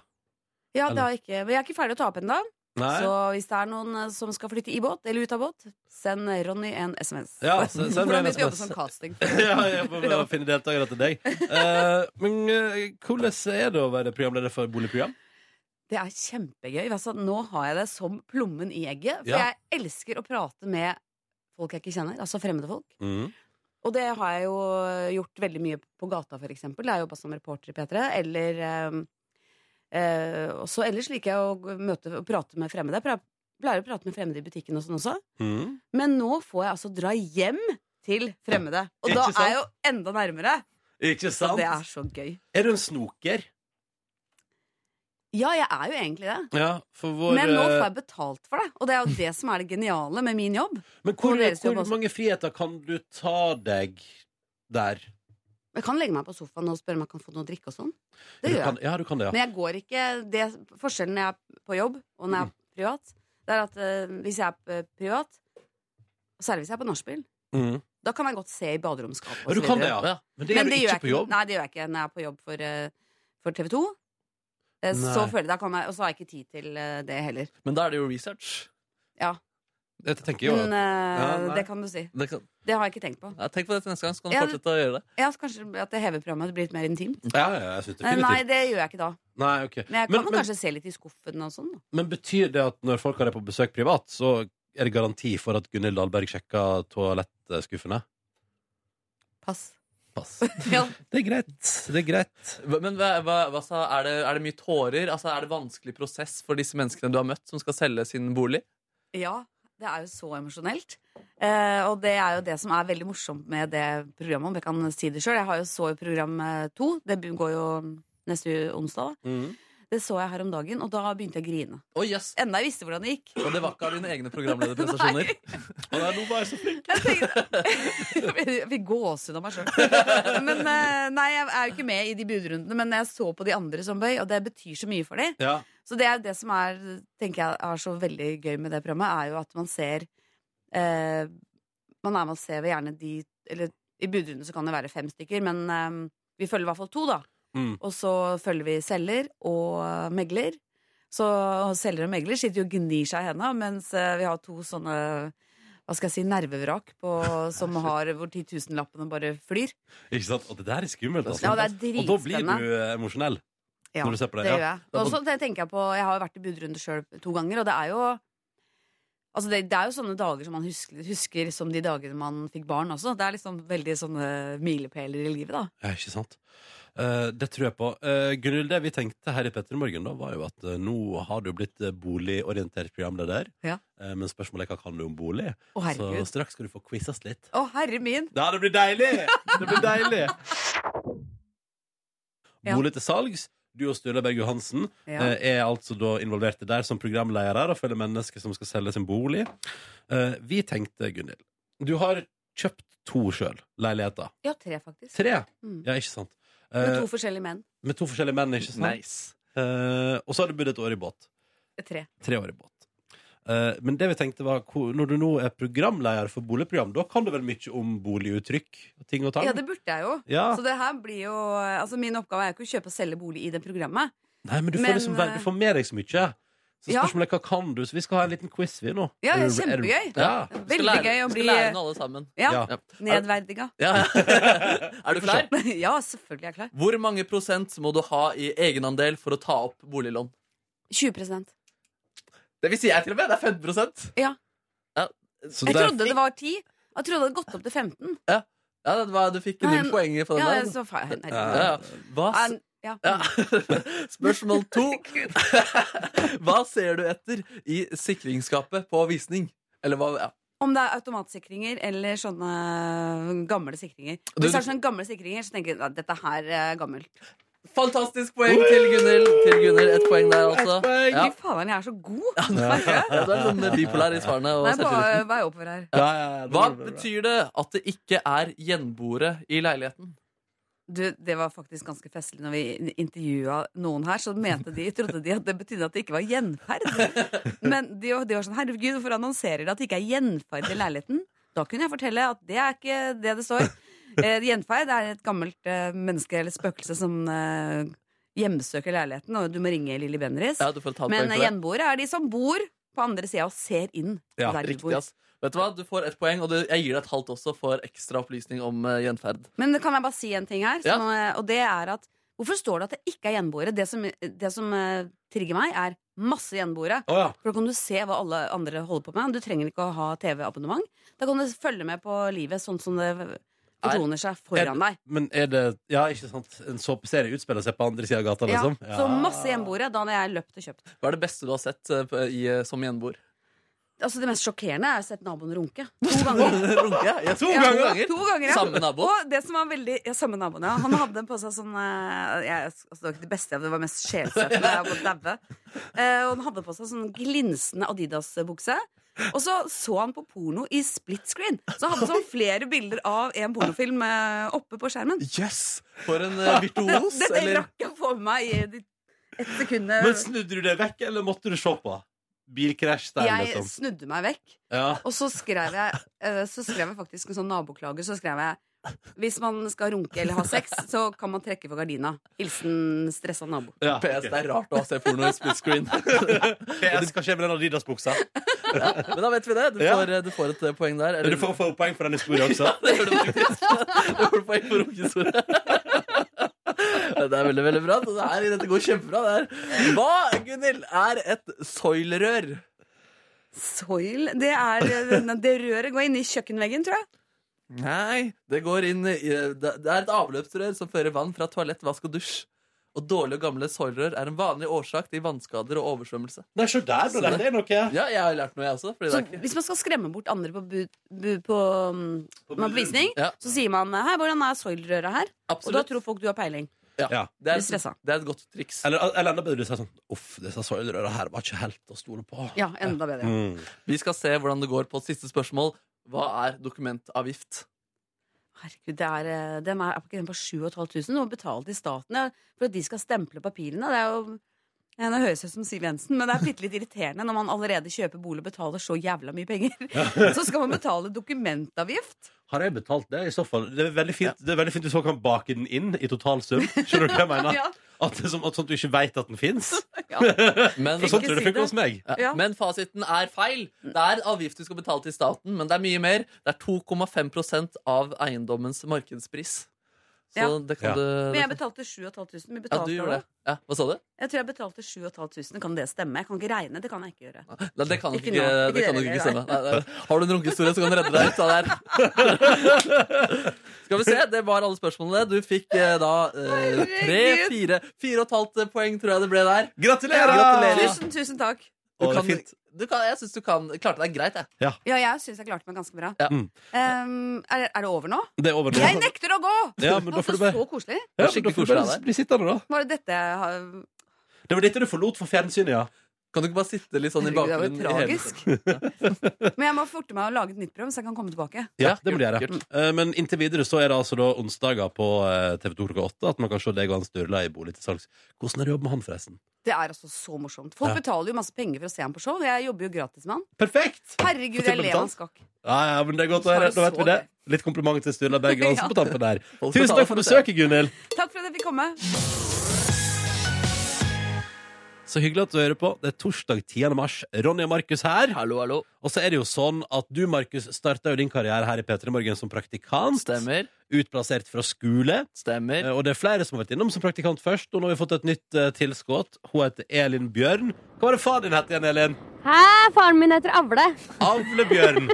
[SPEAKER 7] Ja, det har jeg ikke Men jeg er ikke ferdig å ta opp ennå.
[SPEAKER 1] Nei.
[SPEAKER 7] Så hvis det er noen eh, som skal flytte i båt eller ut av båt, send Ronny en SMS.
[SPEAKER 1] Ja, så send meg en
[SPEAKER 7] Hvordan vil vi jobbe
[SPEAKER 1] SMS.
[SPEAKER 7] som casting?
[SPEAKER 1] ja, jeg må bare finne deltakere til deg. Eh, men eh, hvordan er det å være programleder for et boligprogram?
[SPEAKER 7] Det er kjempegøy. Altså, nå har jeg det som plommen i egget. For
[SPEAKER 1] Ja.
[SPEAKER 7] jeg elsker å prate med folk jeg ikke kjenner, altså fremmede folk.
[SPEAKER 1] Mm.
[SPEAKER 7] Og det har jeg jo gjort veldig mye på gata, for eksempel. Jeg har jobba som reporter i P3. Eller ehm, eh, også ellers liker jeg å gå- møte og prate med fremmede. Jeg pra- pleier å prate med fremmede i butikken og sånn også.
[SPEAKER 1] Mm.
[SPEAKER 7] Men nå får jeg altså dra hjem til fremmede. Og
[SPEAKER 1] Ikke
[SPEAKER 7] da
[SPEAKER 1] sant?
[SPEAKER 7] er jeg jo enda nærmere.
[SPEAKER 1] Ikke
[SPEAKER 7] Og
[SPEAKER 1] sant?
[SPEAKER 7] det er så gøy.
[SPEAKER 1] Er du en snoker?
[SPEAKER 7] Ja, jeg er jo egentlig det.
[SPEAKER 1] Ja, for vår
[SPEAKER 7] Men nå
[SPEAKER 1] eh,
[SPEAKER 7] får jeg betalt for det. Og det er jo det som er det geniale med min jobb.
[SPEAKER 1] Men hvor,
[SPEAKER 7] Og deres jobb
[SPEAKER 1] hvor
[SPEAKER 7] også.
[SPEAKER 1] mange friheter kan du ta deg der?
[SPEAKER 7] Jeg kan legge meg på sofaen og spørre om jeg kan få noe å drikke og sånn. Det
[SPEAKER 1] du
[SPEAKER 7] gjør
[SPEAKER 1] kan,
[SPEAKER 7] jeg.
[SPEAKER 1] ja, du kan det, ja.
[SPEAKER 7] Men jeg går ikke det, Forskjellen når jeg er på jobb, og når jeg
[SPEAKER 1] Mm.
[SPEAKER 7] er privat, det er at eh, hvis jeg er eh, privat, og særlig hvis jeg er på nachspiel,
[SPEAKER 1] Mm.
[SPEAKER 7] da kan jeg godt se i baderomsskapet.
[SPEAKER 1] Ja,
[SPEAKER 7] og
[SPEAKER 1] du
[SPEAKER 7] så
[SPEAKER 1] kan det,
[SPEAKER 7] videre.
[SPEAKER 1] ja.
[SPEAKER 2] Ja.
[SPEAKER 1] Men det
[SPEAKER 7] Men
[SPEAKER 1] gjør du
[SPEAKER 7] gjør
[SPEAKER 1] ikke
[SPEAKER 7] jeg
[SPEAKER 1] på jobb.
[SPEAKER 7] Nei, det gjør jeg ikke når jeg er på jobb for, eh, for TV 2. Så
[SPEAKER 1] Nei.
[SPEAKER 7] føler jeg da kan jeg, Og så har jeg ikke tid til eh, det heller.
[SPEAKER 2] Men da er det jo research.
[SPEAKER 7] Ja.
[SPEAKER 1] Dette tenker jeg jo
[SPEAKER 7] Men
[SPEAKER 1] at
[SPEAKER 7] eh,
[SPEAKER 8] Ja, nei.
[SPEAKER 7] det kan du si.
[SPEAKER 8] Det kan,
[SPEAKER 7] Det har jeg ikke tenkt på.
[SPEAKER 8] ja, tenk på det til neste gang, så kan du
[SPEAKER 7] Ja,
[SPEAKER 8] fortsette å gjøre det.
[SPEAKER 7] Ja, så Kanskje at jeg hever programmet. Det blir litt mer intimt.
[SPEAKER 1] Ja, ja, jeg synes
[SPEAKER 7] Eh, Nei,
[SPEAKER 1] definitivt.
[SPEAKER 7] det gjør jeg ikke da.
[SPEAKER 1] Nei, ok.
[SPEAKER 7] Men jeg kan
[SPEAKER 1] Men-
[SPEAKER 7] jo
[SPEAKER 1] men-
[SPEAKER 7] kanskje se litt i skuffen og sånn. da.
[SPEAKER 1] Men betyr det at når folk har deg på besøk privat, så er det garanti for at Gunhild Dahlberg sjekka toalettskuffene?
[SPEAKER 7] Pass.
[SPEAKER 1] Pass.
[SPEAKER 7] Ja.
[SPEAKER 1] Det er greit. Det er greit.
[SPEAKER 8] Hva- Men hva, hva, hva, sa- er, det, er det mye tårer? Altså, er det vanskelig prosess for disse menneskene du har møtt, som skal selge sin bolig?
[SPEAKER 7] Ja, det er jo så emosjonelt. Eh, og det er jo det som er veldig morsomt med det programmet, om jeg kan si det sjøl. Jeg har jo så i program eh, to. Det bu- går jo neste onsdag. da.
[SPEAKER 1] Mm.
[SPEAKER 7] Det så jeg her om dagen, og da begynte jeg å grine.
[SPEAKER 8] Å, jøss!
[SPEAKER 7] Enda jeg visste hvordan det gikk.
[SPEAKER 8] Og det var ikke av dine egne programlederprestasjoner?
[SPEAKER 1] Å, nei, nå var jeg så flink.
[SPEAKER 7] Jeg, tenkte, jeg fikk gåsehud av meg sjøl. Men eh, nei, jeg er jo ikke med i de budrundene, men jeg så på de andre som bøy, og det betyr så mye for dem.
[SPEAKER 1] Ja.
[SPEAKER 7] Så det er jo det som er, tenker jeg er så veldig gøy med det programmet, er jo at man ser eh, Man er med og ser gjerne de Eller i budrunde så kan det være fem stykker, men eh, vi følger i hvert fall to, da.
[SPEAKER 1] Mm.
[SPEAKER 7] Og så følger vi selger og megler. Så selger og megler sitter jo og gnir seg i henda, mens eh, vi har to sånne hva skal jeg si, nervevrak på, som har hvor titusenlappene bare flyr.
[SPEAKER 1] Ikke sant? Og det der er skummelt, altså.
[SPEAKER 7] Ja,
[SPEAKER 1] og
[SPEAKER 7] det er
[SPEAKER 1] da blir
[SPEAKER 7] dritspennende.
[SPEAKER 1] du eh, emosjonell
[SPEAKER 7] Ja,
[SPEAKER 1] når du ser på det.
[SPEAKER 7] Det gjør
[SPEAKER 1] ja.
[SPEAKER 7] jeg. Og så te- tenker jeg på Jeg har jo vært i budrunde sjøl to ganger, og det er jo Altså det, det er jo sånne dager som man husker, husker som de dagene man fikk barn også. Det er liksom veldig sånne milepæler i livet, da.
[SPEAKER 1] Ja, ikke sant? Eh, det tror jeg på. Uh, Gunhild, det vi tenkte her i Petter i morgen, da, var jo at eh, nå har du blitt eh, boligorientert programleder.
[SPEAKER 7] Ja.
[SPEAKER 1] Eh, men spørsmålet er hva kan du om bolig?
[SPEAKER 7] Å,
[SPEAKER 1] Så
[SPEAKER 7] herregud.
[SPEAKER 1] straks skal du få quizes litt.
[SPEAKER 7] Å, herre min!
[SPEAKER 1] Ja, det blir deilig! Det blir deilig
[SPEAKER 7] Ja.
[SPEAKER 1] Bolig til salgs. Du og Sturla Berg Johansen
[SPEAKER 7] Ja.
[SPEAKER 1] eh, er altså da involverte der som programledere og følger mennesker som skal selge sin bolig. Eh, vi tenkte, Gunhild Du har kjøpt to sjøl, leiligheter.
[SPEAKER 7] Ja, tre, faktisk.
[SPEAKER 1] Tre,
[SPEAKER 7] Mm.
[SPEAKER 1] ja, ikke sant?
[SPEAKER 7] Med
[SPEAKER 1] Eh,
[SPEAKER 7] to forskjellige menn.
[SPEAKER 1] med to forskjellige menn, ikke sant?
[SPEAKER 8] Nice.
[SPEAKER 1] Eh, og så har du bodd et år i båt.
[SPEAKER 7] Tre.
[SPEAKER 1] Tre år i båt. Eh, men det vi tenkte var hvor- når du nå er programleder for boligprogram, da kan du vel mye om boliguttrykk og ting og tang?
[SPEAKER 7] Ja, det burde jeg jo.
[SPEAKER 1] Ja.
[SPEAKER 7] Så det her blir jo Altså, min oppgave er jo ikke å kjøpe og selge bolig i det programmet.
[SPEAKER 1] Nei, men du får,
[SPEAKER 7] Men,
[SPEAKER 1] liksom, vel- du får med deg så mye. Så
[SPEAKER 7] Ja.
[SPEAKER 1] spørsmålet er hva kan du? Så vi skal ha en liten quiz, vi nå.
[SPEAKER 7] Ja,
[SPEAKER 1] Er du- er
[SPEAKER 7] det er
[SPEAKER 1] du-
[SPEAKER 7] kjempegøy.
[SPEAKER 1] Ja.
[SPEAKER 8] Vi skal
[SPEAKER 7] Veldig
[SPEAKER 8] lære-
[SPEAKER 7] gøy å
[SPEAKER 8] vi
[SPEAKER 7] bli
[SPEAKER 8] Skal lære den alle sammen.
[SPEAKER 7] ja,
[SPEAKER 1] Ja.
[SPEAKER 7] nedverdiga.
[SPEAKER 8] Ja. er du klar?
[SPEAKER 7] ja, selvfølgelig er jeg klar.
[SPEAKER 8] Hvor mange prosent må du ha i egenandel for å ta opp boliglån?
[SPEAKER 7] 20
[SPEAKER 8] Det vil si jeg til og med. Det er 15 prosent.
[SPEAKER 1] Så
[SPEAKER 7] Jeg
[SPEAKER 1] der-
[SPEAKER 7] trodde det var 10. Jeg trodde det hadde gått opp til 15.
[SPEAKER 8] Ja, det var, du fikk
[SPEAKER 7] Nei,
[SPEAKER 8] null poeng for den
[SPEAKER 7] Ja,
[SPEAKER 8] der.
[SPEAKER 7] så faen.
[SPEAKER 1] Ja.
[SPEAKER 8] Ja,
[SPEAKER 7] herregud.
[SPEAKER 8] ja. Hva, s-
[SPEAKER 7] Nei, Ja.
[SPEAKER 8] ja. Spørsmål to. Hva ser du etter i sikringsskapet på visning? Eller hva ja.
[SPEAKER 7] Om det er automatsikringer eller sånne gamle sikringer.
[SPEAKER 8] Du-
[SPEAKER 7] Hvis det er sånne gamle sikringer, så tenker jeg at dette her er gammelt.
[SPEAKER 8] Fantastisk poeng til Gunhild. Til Gunhild. Ett poeng der, altså. Ja.
[SPEAKER 7] Fy fader, jeg er så god! Merker
[SPEAKER 8] Ja,
[SPEAKER 7] jeg?
[SPEAKER 8] du er sånn bipolar i svarene. Og
[SPEAKER 7] Nei,
[SPEAKER 8] selvtilliten.
[SPEAKER 7] bare vei oppover her.
[SPEAKER 1] ja, ja, ja, det
[SPEAKER 8] Hva
[SPEAKER 1] var bra, bra.
[SPEAKER 8] betyr det at det ikke er gjenboere i leiligheten?
[SPEAKER 7] Du, det var faktisk ganske festlig når vi intervjua noen her, så mente de, trodde de at det betydde at det ikke var gjenferd. Men de, var- de var sånn Herregud, hvorfor annonserer de at det ikke er gjenferd i leiligheten? Da kunne jeg fortelle at det er ikke det det står. Eh, gjenferd er et gammelt eh, menneske eller spøkelse som eh, hjemsøker leiligheten, og du må ringe Lilly Bendriss.
[SPEAKER 8] Ja, du får et halvt
[SPEAKER 7] Men
[SPEAKER 8] poeng
[SPEAKER 7] eh,
[SPEAKER 8] for det.
[SPEAKER 7] gjenboere er de som bor på andre sida og ser inn.
[SPEAKER 1] Ja,
[SPEAKER 7] der de
[SPEAKER 8] Riktig,
[SPEAKER 7] bor.
[SPEAKER 8] ass. Vet du hva? Du får ett poeng, og det- jeg gir deg et halvt også for ekstra opplysning om eh, gjenferd.
[SPEAKER 7] Men kan jeg bare si en ting her?
[SPEAKER 8] Ja.
[SPEAKER 7] Som, eh, Og det er at Hvorfor står det at det ikke er gjenboere? Det som, det som eh, trigger meg, er masse gjenboere.
[SPEAKER 1] Å ja.
[SPEAKER 7] For da kan du se hva alle andre holder på med. Du trenger ikke å ha TV-abonnement. Da kan du følge med på livet sånn som det fortoner seg foran deg.
[SPEAKER 1] Men er det Ja, ikke sant? En såpeserie utspiller seg på andre sida av gata,
[SPEAKER 7] Ja.
[SPEAKER 8] sånn?
[SPEAKER 1] liksom?
[SPEAKER 7] Så masse gjenboere. Da hadde jeg løpt og kjøpt.
[SPEAKER 8] Hva er det beste du har sett eh, på- i, eh, som gjenboer?
[SPEAKER 7] Altså Det mest sjokkerende er å ha sett naboen runke. To ganger.
[SPEAKER 8] Runke? Ja, to
[SPEAKER 7] Ja,
[SPEAKER 8] ganger!
[SPEAKER 7] To ganger ja.
[SPEAKER 8] Samme nabo?
[SPEAKER 7] Og det som var veldig ja, Samme naboen, ja. Han hadde på seg sånn eh, jeg, altså, Det var ikke det beste, det var mest sjelsettende. Jeg holdt på å daue. Eh, og han hadde på seg sånn glinsende Adidas-bukse. Og så så han på porno i split screen. Så han hadde sånn flere bilder av en pornofilm eh, oppe på skjermen.
[SPEAKER 8] Jøss! For en eh,
[SPEAKER 7] Det,
[SPEAKER 8] virtuos,
[SPEAKER 7] det,
[SPEAKER 8] eller
[SPEAKER 7] rakk jeg å få med meg i de- et sekund. eh,
[SPEAKER 1] Men snudde du det vekk, eller måtte du se på? bilkrasj-style,
[SPEAKER 7] Jeg
[SPEAKER 1] liksom.
[SPEAKER 7] snudde meg vekk,
[SPEAKER 1] Ja.
[SPEAKER 7] og så skrev jeg, eh, så skrev jeg faktisk en sånn naboklage. Så skrev jeg hvis man skal runke eller ha sex, så kan man trekke for gardina. Hilsen stressa nabo.
[SPEAKER 1] Ja,
[SPEAKER 8] PS,
[SPEAKER 1] ok.
[SPEAKER 8] det er rart å se porno i split screen.
[SPEAKER 1] PS, hva skjer med den Adidas-buksa?
[SPEAKER 8] Men da vet vi det. Du
[SPEAKER 1] Ja.
[SPEAKER 8] får, du får et eh, poeng der.
[SPEAKER 1] Du får få poeng for den historien også.
[SPEAKER 8] Det gjør du faktisk. Det får du poeng for runkesordet. Det er veldig, veldig bra. Det er, dette går kjempebra. Det er. Hva, Gunhild, er et soilrør?
[SPEAKER 7] Soil Det, er, eh, det røret går inn i kjøkkenveggen, tror jeg.
[SPEAKER 8] Nei, det går inn i eh, Det det er et avløpsrør som fører vann fra toalett, vask og dusj. Og dårlige og gamle soilrør er en vanlig årsak til vannskader og oversvømmelse.
[SPEAKER 1] Nei, se der, bro. Det er noe.
[SPEAKER 8] Ja, jeg har lært noe, jeg også. Fordi det
[SPEAKER 7] Så
[SPEAKER 8] er ikke...
[SPEAKER 7] hvis man skal skremme bort andre på, bu, bu, på, um,
[SPEAKER 1] På
[SPEAKER 7] man er
[SPEAKER 1] bussen.
[SPEAKER 7] på visning,
[SPEAKER 8] Ja.
[SPEAKER 7] så sier man 'hei, hvordan er soilrøret her?' Og da
[SPEAKER 8] Absolutt.
[SPEAKER 7] tror folk du har peiling.
[SPEAKER 1] Ja.
[SPEAKER 8] Det
[SPEAKER 7] blir
[SPEAKER 8] er,
[SPEAKER 7] stressa.
[SPEAKER 8] det er et godt triks.
[SPEAKER 1] Eller, eller enda bedre, du sier sånn Uff, disse soilrøra her var ikke helt å stole på.
[SPEAKER 7] Ja, enda bedre.
[SPEAKER 1] Mm.
[SPEAKER 8] Vi skal se hvordan det går på siste spørsmål. Hva er dokumentavgift?
[SPEAKER 7] Herregud, det er, eh, den er, er ikke den på 7500? Du må betale til staten ja, for at de skal stemple papirene. Det er jo ja, det høres ut som Siv Jensen, men det er bitte litt irriterende når man allerede kjøper bolig og betaler så jævla mye penger. Så skal man betale dokumentavgift.
[SPEAKER 1] Har jeg betalt det? I så fall. Det er veldig fint, det er veldig fint hvis folk kan bake den inn i totalsum. Skjønner du hva jeg mener?
[SPEAKER 7] Ja,
[SPEAKER 1] At, det er som, at sånn at du ikke veit at den fins.
[SPEAKER 8] Men,
[SPEAKER 1] For sånn tror jeg det
[SPEAKER 7] si det.
[SPEAKER 1] funker hos meg.
[SPEAKER 8] ja.
[SPEAKER 7] Ja.
[SPEAKER 8] men fasiten er feil. Det er avgift du skal betale til staten, men det er mye mer. Det er 2,5 av eiendommens markedspris. Så
[SPEAKER 7] Ja.
[SPEAKER 8] det kan
[SPEAKER 1] Ja.
[SPEAKER 8] du
[SPEAKER 7] Men jeg
[SPEAKER 8] det kan-
[SPEAKER 7] betalte 7500. Vi
[SPEAKER 8] Ja, du
[SPEAKER 7] betalte
[SPEAKER 8] gjorde det. Ja, hva sa du?
[SPEAKER 7] Jeg tror jeg betalte 7500. Kan det stemme? Jeg kan ikke regne. Det kan jeg ikke gjøre.
[SPEAKER 8] Nei, det kan nok
[SPEAKER 7] Ikke
[SPEAKER 8] ikke,
[SPEAKER 7] nå. Ikke
[SPEAKER 8] det kan nok
[SPEAKER 7] dere,
[SPEAKER 8] ikke
[SPEAKER 7] nei.
[SPEAKER 8] stemme. Nei, nei. Har du en runkehistorie, så kan du redde deg ut av det her. Skal vi se, Det var alle spørsmålene. Du fikk eh, da eh, tre, fire, fire og et halvt eh, poeng, tror jeg det ble der.
[SPEAKER 1] Gratulerer!
[SPEAKER 8] Gratulerer.
[SPEAKER 7] Tusen, tusen takk.
[SPEAKER 8] Du
[SPEAKER 1] Å, det er
[SPEAKER 8] kan,
[SPEAKER 1] fint.
[SPEAKER 8] du kan, jeg syns du kan klarte deg greit, jeg.
[SPEAKER 7] Ja, jeg syns jeg klarte meg ganske bra.
[SPEAKER 8] Ja.
[SPEAKER 1] Mm.
[SPEAKER 7] Um, er, er det over nå?
[SPEAKER 1] Det er over nå.
[SPEAKER 7] Jeg nekter å gå!
[SPEAKER 1] Ja, men da
[SPEAKER 7] Altså,
[SPEAKER 1] får du bare-
[SPEAKER 7] Så koselig.
[SPEAKER 1] Ja,
[SPEAKER 8] Det var
[SPEAKER 1] men da
[SPEAKER 8] skikkelig
[SPEAKER 1] får du bare
[SPEAKER 8] koselig av deg.
[SPEAKER 1] Bli sittende, da.
[SPEAKER 7] Var det dette jeg har
[SPEAKER 1] Det var dette du forlot for fjernsynet, ja.
[SPEAKER 8] Kan du ikke bare sitte litt sånn i
[SPEAKER 7] Herregud, det var
[SPEAKER 8] bakgrunnen?
[SPEAKER 7] jo
[SPEAKER 8] i hele
[SPEAKER 7] tragisk.
[SPEAKER 8] tiden?
[SPEAKER 7] Men jeg må forte meg å lage et nytt program, så jeg kan komme tilbake.
[SPEAKER 1] Ja, det må du
[SPEAKER 8] kult,
[SPEAKER 1] gjøre. Eh, Men inntil videre så er det altså da onsdager på eh, TV2 klokka åtte at man kan se deg og han Sturla i bolig til salgs. Hvordan er det jobb med han, forresten?
[SPEAKER 7] Det er altså så morsomt. Folk
[SPEAKER 1] Ja.
[SPEAKER 7] betaler jo masse penger for å se ham på show. og Jeg jobber jo gratis med han.
[SPEAKER 1] Perfekt!
[SPEAKER 7] Herregud,
[SPEAKER 1] Får ikke
[SPEAKER 7] jeg ler
[SPEAKER 1] betalt.
[SPEAKER 7] han skakk.
[SPEAKER 1] Ja, ja, men det er godt å
[SPEAKER 7] Så er
[SPEAKER 1] høre.
[SPEAKER 7] det
[SPEAKER 1] Da vet
[SPEAKER 7] så
[SPEAKER 1] vi det. Litt kompliment til Sturla Berg Hansen
[SPEAKER 7] Ja.
[SPEAKER 1] på tampen der.
[SPEAKER 8] Folk
[SPEAKER 1] Tusen
[SPEAKER 8] betaler
[SPEAKER 1] takk for
[SPEAKER 8] for det.
[SPEAKER 1] besøket, Gunhild!
[SPEAKER 7] Takk for at jeg fikk komme.
[SPEAKER 1] Så hyggelig at du hører på. Det er torsdag 10. mars. Ronny og Markus her.
[SPEAKER 8] Hallo, hallo.
[SPEAKER 1] Og så er det jo sånn at du, Markus, starta jo din karriere her i P3 Morgen som praktikant.
[SPEAKER 8] Stemmer.
[SPEAKER 1] Utplassert fra skole. Eh,
[SPEAKER 8] Stemmer.
[SPEAKER 1] Og det er flere som har vært innom som praktikant først. Og nå har vi fått et nytt eh, tilskudd. Hun heter Elin Bjørn. Hva var det faren din het igjen, Elin?
[SPEAKER 6] Hæ? Faren min heter Avle.
[SPEAKER 1] Avlebjørn.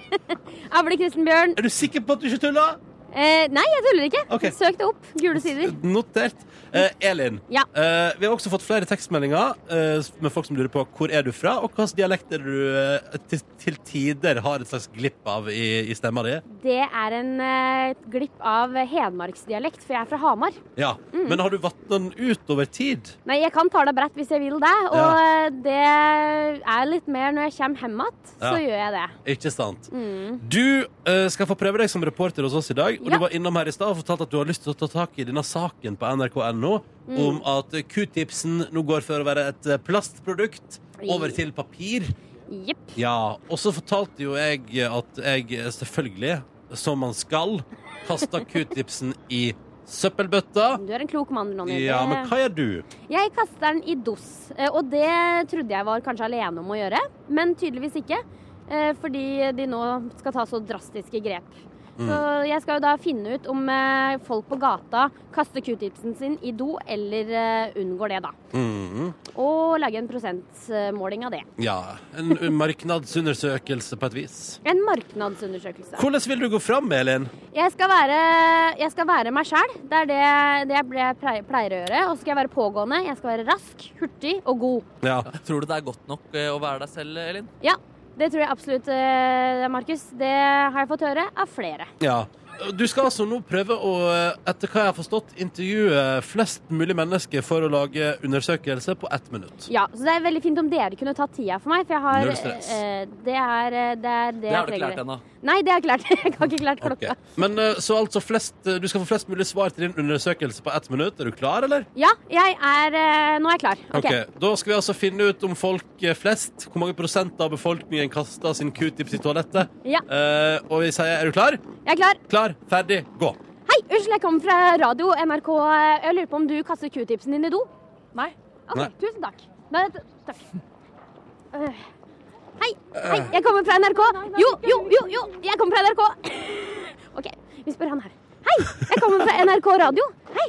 [SPEAKER 6] Avle Kristenbjørn.
[SPEAKER 1] Er du sikker på at du ikke tuller?
[SPEAKER 6] Eh, nei, jeg tuller ikke.
[SPEAKER 1] Ok.
[SPEAKER 6] Søk det opp. Gule sider.
[SPEAKER 1] Notert. Eh, Elin,
[SPEAKER 6] Ja.
[SPEAKER 1] eh, vi har også fått flere tekstmeldinger eh, med folk som lurer på hvor er du fra, og hvilken dialekt er det du eh, til, til tider har et slags glipp av i, i stemma di.
[SPEAKER 6] Det er en eh, glipp av hedmarksdialekt, for jeg er fra Hamar.
[SPEAKER 1] Ja. Men har du vatna den ut over tid?
[SPEAKER 6] Nei, jeg kan tale bredt hvis jeg vil det, og
[SPEAKER 1] Ja.
[SPEAKER 6] eh, det er litt mer når jeg kommer hjem igjen, så
[SPEAKER 1] Ja.
[SPEAKER 6] gjør jeg det.
[SPEAKER 1] Ikke sant?
[SPEAKER 6] Mm.
[SPEAKER 1] Du eh, skal få prøve deg som reporter hos oss i dag. Og
[SPEAKER 6] Ja.
[SPEAKER 1] du var innom her i stad og fortalte at du har lyst til å ta tak i denne saken på nrk.no om at q-tipsen nå går for å være et eh, plastprodukt over til papir.
[SPEAKER 6] Jepp.
[SPEAKER 1] Ja, og så fortalte jo jeg at jeg eh, selvfølgelig, som man skal, kasta q-tipsen i søppelbøtta.
[SPEAKER 6] Du Sånn er en klok mann, Ronny.
[SPEAKER 1] Ja, men hva gjør du?
[SPEAKER 6] Jeg kaster den i dos, eh, og det trodde jeg var kanskje alene om å gjøre, men tydeligvis ikke. eh, Fordi de nå skal ta så drastiske grep. Så jeg skal jo da finne ut om eh, folk på gata kaster q-tipsen sin i do, eller eh, unngår det, da.
[SPEAKER 1] Mhm.
[SPEAKER 6] Og lage en prosentmåling av det.
[SPEAKER 1] Ja, en marknadsundersøkelse på et vis.
[SPEAKER 6] En marknadsundersøkelse.
[SPEAKER 1] Hvordan vil du gå fram, Elin?
[SPEAKER 6] Jeg skal være, jeg skal være meg sjæl. Det er det, det jeg ble- pleier pleier å gjøre. Og så skal jeg være pågående. Jeg skal være rask, hurtig og god.
[SPEAKER 1] Ja.
[SPEAKER 8] Tror du det er godt nok eh, å være deg selv, Elin?
[SPEAKER 6] Ja, det tror jeg absolutt, eh, Markus. Det har jeg fått høre av flere.
[SPEAKER 1] ja. Du skal altså nå prøve å, etter hva jeg har forstått, intervjue flest mulig mennesker for å lage undersøkelse på ett minutt.
[SPEAKER 6] Ja, så det er veldig fint om dere kunne tatt tida for meg, for jeg har
[SPEAKER 1] Null stress.
[SPEAKER 6] eh, Det er eh, det, er det,
[SPEAKER 8] Det har du
[SPEAKER 6] jeg
[SPEAKER 8] ikke lært
[SPEAKER 6] trenger.
[SPEAKER 8] ennå.
[SPEAKER 6] Nei, det har jeg ikke lært. Jeg har ikke klart
[SPEAKER 1] Ok.
[SPEAKER 6] klokka.
[SPEAKER 1] Men eh, så altså flest, Du skal få flest mulig svar til din undersøkelse på ett minutt. Er du klar, eller?
[SPEAKER 6] Ja, jeg er eh, Nå er jeg klar. Ok.
[SPEAKER 1] Ok, Da skal vi altså finne ut om folk eh, flest, hvor mange prosent av befolkningen kaster sin q-tips i toalettet.
[SPEAKER 6] Ja.
[SPEAKER 1] Eh, og vi sier er du klar?
[SPEAKER 6] Jeg er klar.
[SPEAKER 1] Klar, ferdig, gå.
[SPEAKER 6] Hei, unnskyld, jeg kommer fra radio NRK. Jeg lurer på om du kaster q-tipsen din i do? Nei. Ok,
[SPEAKER 1] Nei.
[SPEAKER 6] tusen takk. Nei, t- takk. Øh. Hei, hei, jeg kommer fra NRK. Jo, jo, jo, jo, jeg kommer fra NRK. Ok, vi spør han her. Hei, jeg kommer fra NRK radio. Hei.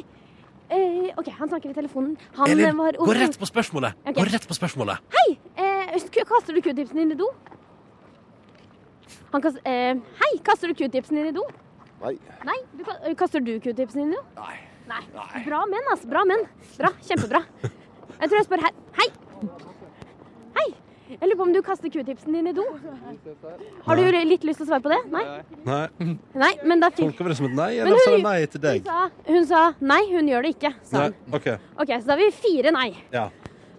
[SPEAKER 6] Eh, ok, han snakker i telefonen. Han eh,
[SPEAKER 1] Elin,
[SPEAKER 6] var
[SPEAKER 1] gå rett på spørsmålet.
[SPEAKER 6] Ok.
[SPEAKER 1] Gå rett på spørsmålet.
[SPEAKER 6] Hei, eh, k- kaster du q-tipsen din i do? Han kaster, eh, hei, kaster du q-tipsen din i do?
[SPEAKER 9] Nei.
[SPEAKER 6] Nei, du, ka- eh, kaster du q-tipsen din i do?
[SPEAKER 9] Nei.
[SPEAKER 6] Nei. Bra menn, ass. Bra menn. Bra. Kjempebra. Jeg tror jeg spør her. Hei. Hei. Jeg lurer på om du kaster q-tipsen din i do? Har du litt lyst til å svare på det? Nei?
[SPEAKER 1] Nei,
[SPEAKER 6] Nei, men da fikk
[SPEAKER 1] Tolker vi det som et nei,
[SPEAKER 6] Men
[SPEAKER 1] eller sa
[SPEAKER 6] hun-
[SPEAKER 1] det nei til
[SPEAKER 6] hun
[SPEAKER 1] deg?
[SPEAKER 6] sa, hun sa nei, hun gjør det ikke, sa
[SPEAKER 1] Nei,
[SPEAKER 6] hun.
[SPEAKER 1] ok,
[SPEAKER 6] OK, så da har vi fire nei.
[SPEAKER 1] ja.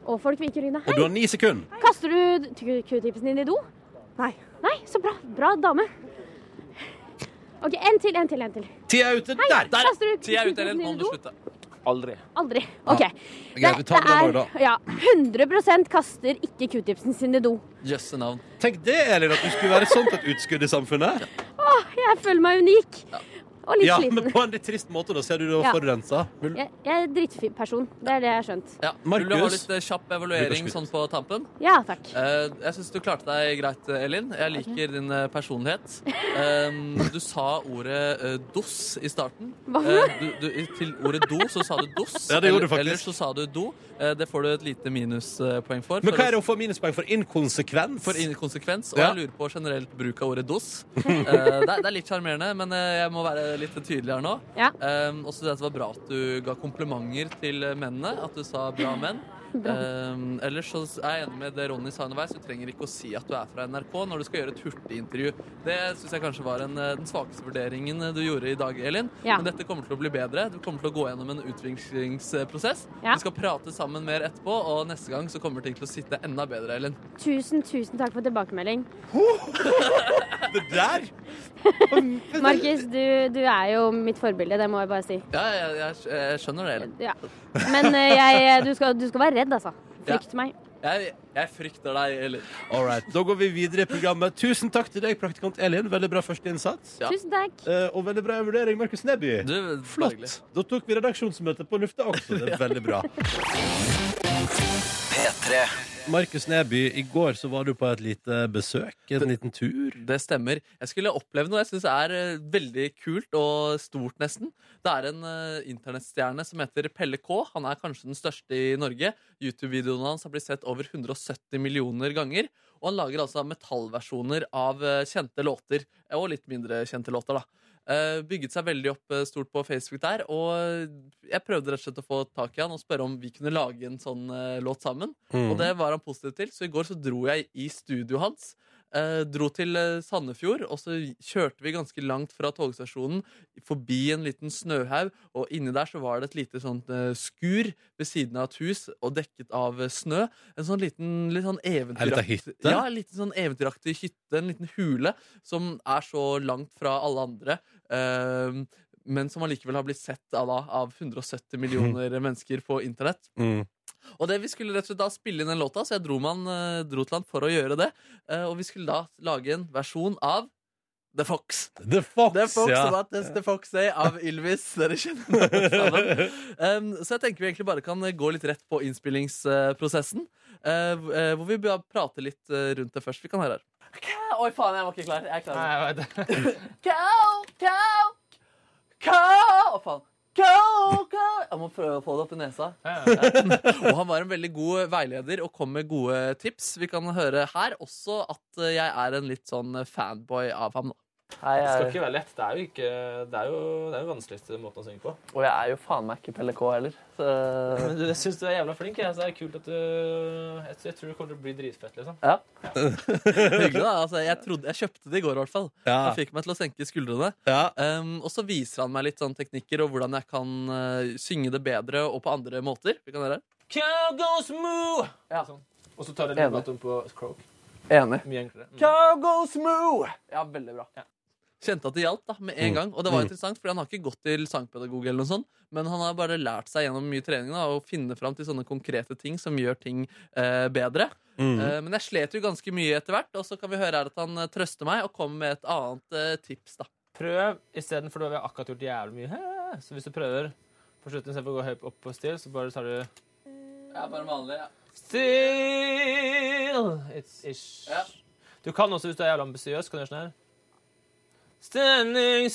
[SPEAKER 6] Og folk viker ryggen.
[SPEAKER 1] Og
[SPEAKER 6] Hei.
[SPEAKER 1] du har ni sekunder.
[SPEAKER 6] Kaster du t- q-tipsen din i do? Nei. Nei, Så bra. Bra dame. OK, en til, en til, en til.
[SPEAKER 1] Tida er ute. Der!
[SPEAKER 8] Der!
[SPEAKER 6] Kaster du
[SPEAKER 8] Tida er ute,
[SPEAKER 6] q-tipsen
[SPEAKER 8] Elin.
[SPEAKER 6] din
[SPEAKER 8] Nå
[SPEAKER 6] i
[SPEAKER 8] må du
[SPEAKER 6] do?
[SPEAKER 8] slutte.
[SPEAKER 9] Aldri.
[SPEAKER 6] Aldri. OK.
[SPEAKER 1] Greit, vi tar det den også, da.
[SPEAKER 6] ja, 100 kaster ikke q-tipsen sin i do.
[SPEAKER 8] Jøsse navn.
[SPEAKER 1] Tenk det, Elin, at du skulle være et sånt et utskudd i samfunnet.
[SPEAKER 6] Åh, jeg føler meg unik. Og litt
[SPEAKER 1] Ja, men
[SPEAKER 6] sliten.
[SPEAKER 1] på en litt trist måte. Da ser du det var
[SPEAKER 6] Ja.
[SPEAKER 1] forurensa. Vil-
[SPEAKER 6] Jeg, jeg er en drittperson. Det er det jeg har skjønt.
[SPEAKER 8] Ja.
[SPEAKER 1] Markus.
[SPEAKER 8] Vil du ha litt eh, kjapp evaluering
[SPEAKER 1] Lukas Schmidt.
[SPEAKER 8] sånn på tampen?
[SPEAKER 6] Ja, takk.
[SPEAKER 8] Eh, jeg syns du klarte deg greit, eh, Elin. Jeg liker din eh, personlighet. Um, du sa ordet eh, dos i starten.
[SPEAKER 6] Hva?
[SPEAKER 8] Eh, du, du, i- til ordet do så sa du dos.
[SPEAKER 1] Ja, det gjorde du
[SPEAKER 8] Eller-
[SPEAKER 1] faktisk.
[SPEAKER 8] Ellers så sa du do. Eh, det får du et lite minuspoeng for.
[SPEAKER 1] Men
[SPEAKER 8] for
[SPEAKER 1] hva er det å få minuspoeng for? Inkonsekvens?
[SPEAKER 8] for inkonsekvens, og
[SPEAKER 1] Ja.
[SPEAKER 8] jeg lurer på generelt bruk av ordet dos. Eh, det, er, det er litt sjarmerende, men eh, jeg må være litt tydelig her nå.
[SPEAKER 6] Ja.
[SPEAKER 8] Um, også det at det var bra at du ga komplimenter til eh, mennene, at du sa bra menn. Um, ellers så er jeg enig med det Ronny sa underveis, du trenger ikke å si at du er fra NRK når du skal gjøre et hurtigintervju. Det syns jeg kanskje var en, eh, den svakeste vurderingen eh, du gjorde i dag, Elin.
[SPEAKER 6] Ja.
[SPEAKER 8] Men dette kommer til å bli bedre. Du kommer til å gå gjennom en utviklingsprosess.
[SPEAKER 6] Ja.
[SPEAKER 8] Vi skal prate sammen mer etterpå, og neste gang så kommer ting til å sitte enda bedre, Elin.
[SPEAKER 6] Tusen, tusen takk for tilbakemelding.
[SPEAKER 1] Det der?
[SPEAKER 6] Markus, du, du er jo mitt forbilde, det må jeg bare si.
[SPEAKER 8] Ja, jeg, jeg, jeg skjønner det. Elin.
[SPEAKER 6] Ja. Men eh, jeg, du, skal, du skal være redd, altså. Frykt meg.
[SPEAKER 8] Jeg, jeg frykter deg, Elin.
[SPEAKER 1] All right. Da går vi videre i programmet. Tusen takk til deg, praktikant Elin. Veldig bra førsteinnsats.
[SPEAKER 8] Ja.
[SPEAKER 6] Tusen takk.
[SPEAKER 1] Eh, Og veldig bra vurdering, Markus Neby.
[SPEAKER 8] Du,
[SPEAKER 1] Flott.
[SPEAKER 8] daglig.
[SPEAKER 1] Da tok vi redaksjonsmøtet på lufta også. Det er veldig bra. Markus Neby, i går så var du på et lite besøk, en liten tur.
[SPEAKER 8] Det stemmer. Jeg skulle oppleve noe jeg syns er eh, veldig kult og stort, nesten. Det er en eh, internettstjerne som heter Pelle K. Han er kanskje den største i Norge. YouTube-videoene hans har blitt sett over 170 millioner ganger. Og han lager altså metallversjoner av eh, kjente låter. eh, Og litt mindre kjente låter, da. Eh, bygget seg veldig opp eh, stort på Facebook der. Og jeg prøvde rett og slett å få tak i han og spørre om vi kunne lage en sånn eh, låt sammen. Og det var han positiv til, så i går så dro jeg i studioet hans. Eh, dro til eh, Sandefjord, og så kjørte vi ganske langt fra togstasjonen. Forbi en liten snøhaug, og inni der så var det et lite sånt eh, skur ved siden av et hus, og dekket av eh, snø. En sånn liten, litt sånn
[SPEAKER 1] liten
[SPEAKER 8] eventyraktig
[SPEAKER 1] hytte?
[SPEAKER 8] Ja, en liten sånn eventyraktig hytte, en liten hule, som er så langt fra alle andre. eh, men som allikevel har blitt sett av, da, av 170 millioner mennesker på internett.
[SPEAKER 1] Mm.
[SPEAKER 8] Og det, Vi skulle rett og slett da spille inn den låta, så jeg dro, med han, eh, dro til han for å gjøre det. Eh, Og vi skulle da lage en versjon av The Fox.
[SPEAKER 1] The Fox,
[SPEAKER 8] The Fox
[SPEAKER 1] ja.
[SPEAKER 8] What Does The Fox Say av Ylvis. Dere kjenner den fra dem. Um, Så jeg tenker vi egentlig bare kan gå litt rett på innspillingsprosessen. eh, hvor- eh, Hvor vi bare prater litt eh, rundt det først. Vi kan høre her. Oi, faen, jeg var ikke klar. Jeg er klar. nå. Cow, cow, cow Å, faen. Cow, cow Jeg må prøve å få det opp i nesa. Og han var en veldig god eh, veileder og kom med gode tips. Vi kan høre her også at eh, jeg er en litt sånn eh, fanboy av ham. da.
[SPEAKER 2] Det skal
[SPEAKER 8] jeg,
[SPEAKER 2] ikke være lett. Det er jo ikke Det er jo, det er jo vanskeligste måten å synge på.
[SPEAKER 8] og jeg er jo faen meg ikke Pelle K heller. Så
[SPEAKER 2] Men du, jeg syns du er jævla flink. Jeg, så det er kult at du Jeg, jeg tror det kommer til å bli dritfett, liksom.
[SPEAKER 8] hyggelig, da. Altså, jeg, trodde, jeg kjøpte det i går, i hvert fall.
[SPEAKER 1] Ja,
[SPEAKER 8] Han fikk meg til å senke skuldrene.
[SPEAKER 1] ja.
[SPEAKER 8] Um, og så viser han meg litt sånn teknikker og hvordan jeg kan eh, synge det bedre og på andre måter. Vi kan gjøre det.
[SPEAKER 2] Cow goes moo!
[SPEAKER 8] Ja.
[SPEAKER 2] Sånn. Og så tar du
[SPEAKER 8] Enig.
[SPEAKER 2] litt bottom på croak.
[SPEAKER 8] Enig.
[SPEAKER 2] Mye enklere. Mm.
[SPEAKER 8] Ja, veldig bra. Kjente at det hjalp da, med en
[SPEAKER 1] Mm.
[SPEAKER 8] gang. Og det var
[SPEAKER 1] Mm.
[SPEAKER 8] interessant, for han har ikke gått til sangpedagog, eller noe sånt, men han har bare lært seg gjennom mye trening da, å finne fram til sånne konkrete ting som gjør ting eh, bedre.
[SPEAKER 1] Mm.
[SPEAKER 8] Eh, men jeg slet jo ganske mye etter hvert, og så kan vi høre her at han eh, trøster meg og kommer med et annet eh, tips. da.
[SPEAKER 2] Prøv istedenfor Vi har akkurat gjort jævlig mye. Hæ? Så hvis du prøver på slutten istedenfor å gå høyt opp på still, så bare tar du
[SPEAKER 8] Ja, bare vanlig, ja.
[SPEAKER 2] Still It's ish.
[SPEAKER 8] Ja.
[SPEAKER 2] Du kan også, hvis du er jævla ambisiøs, kan du gjøre sånn her. Standing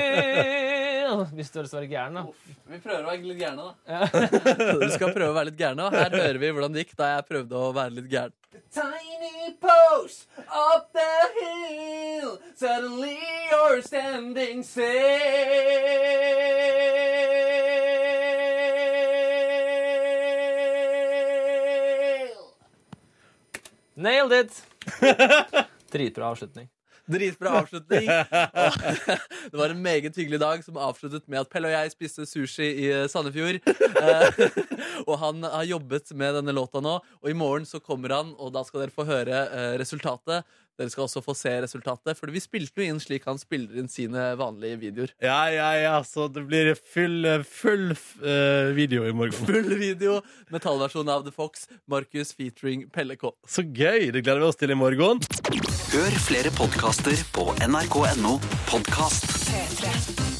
[SPEAKER 2] still Hvis du har lyst til å være gæren, da.
[SPEAKER 8] Vi prøver å være litt gærne, da.
[SPEAKER 2] Ja.
[SPEAKER 8] Du skal prøve å være litt gærne, og her hører vi hvordan det gikk da jeg prøvde å være litt gæren. Tiny post up the hill Suddenly you're standing still
[SPEAKER 2] Nailed it! Dritbra avslutning.
[SPEAKER 8] Dritbra avslutning. Og Det var en meget hyggelig dag som avsluttet med at Pelle og jeg spiste sushi i eh, Sandefjord. Eh, Og han har jobbet med denne låta nå, og i morgen så kommer han, og da skal dere få høre eh, resultatet. Dere skal også få se resultatet, for vi spilte jo inn slik han spiller inn sine vanlige videoer.
[SPEAKER 1] ja, ja, ja. Så det blir full, full eh, video i morgen.
[SPEAKER 8] Full video, metallversjon av The Fox, Markus featuring Pelle K.
[SPEAKER 1] Så gøy! Det gleder vi oss til i morgen.
[SPEAKER 10] Hør flere podkaster på nrk.no podkast.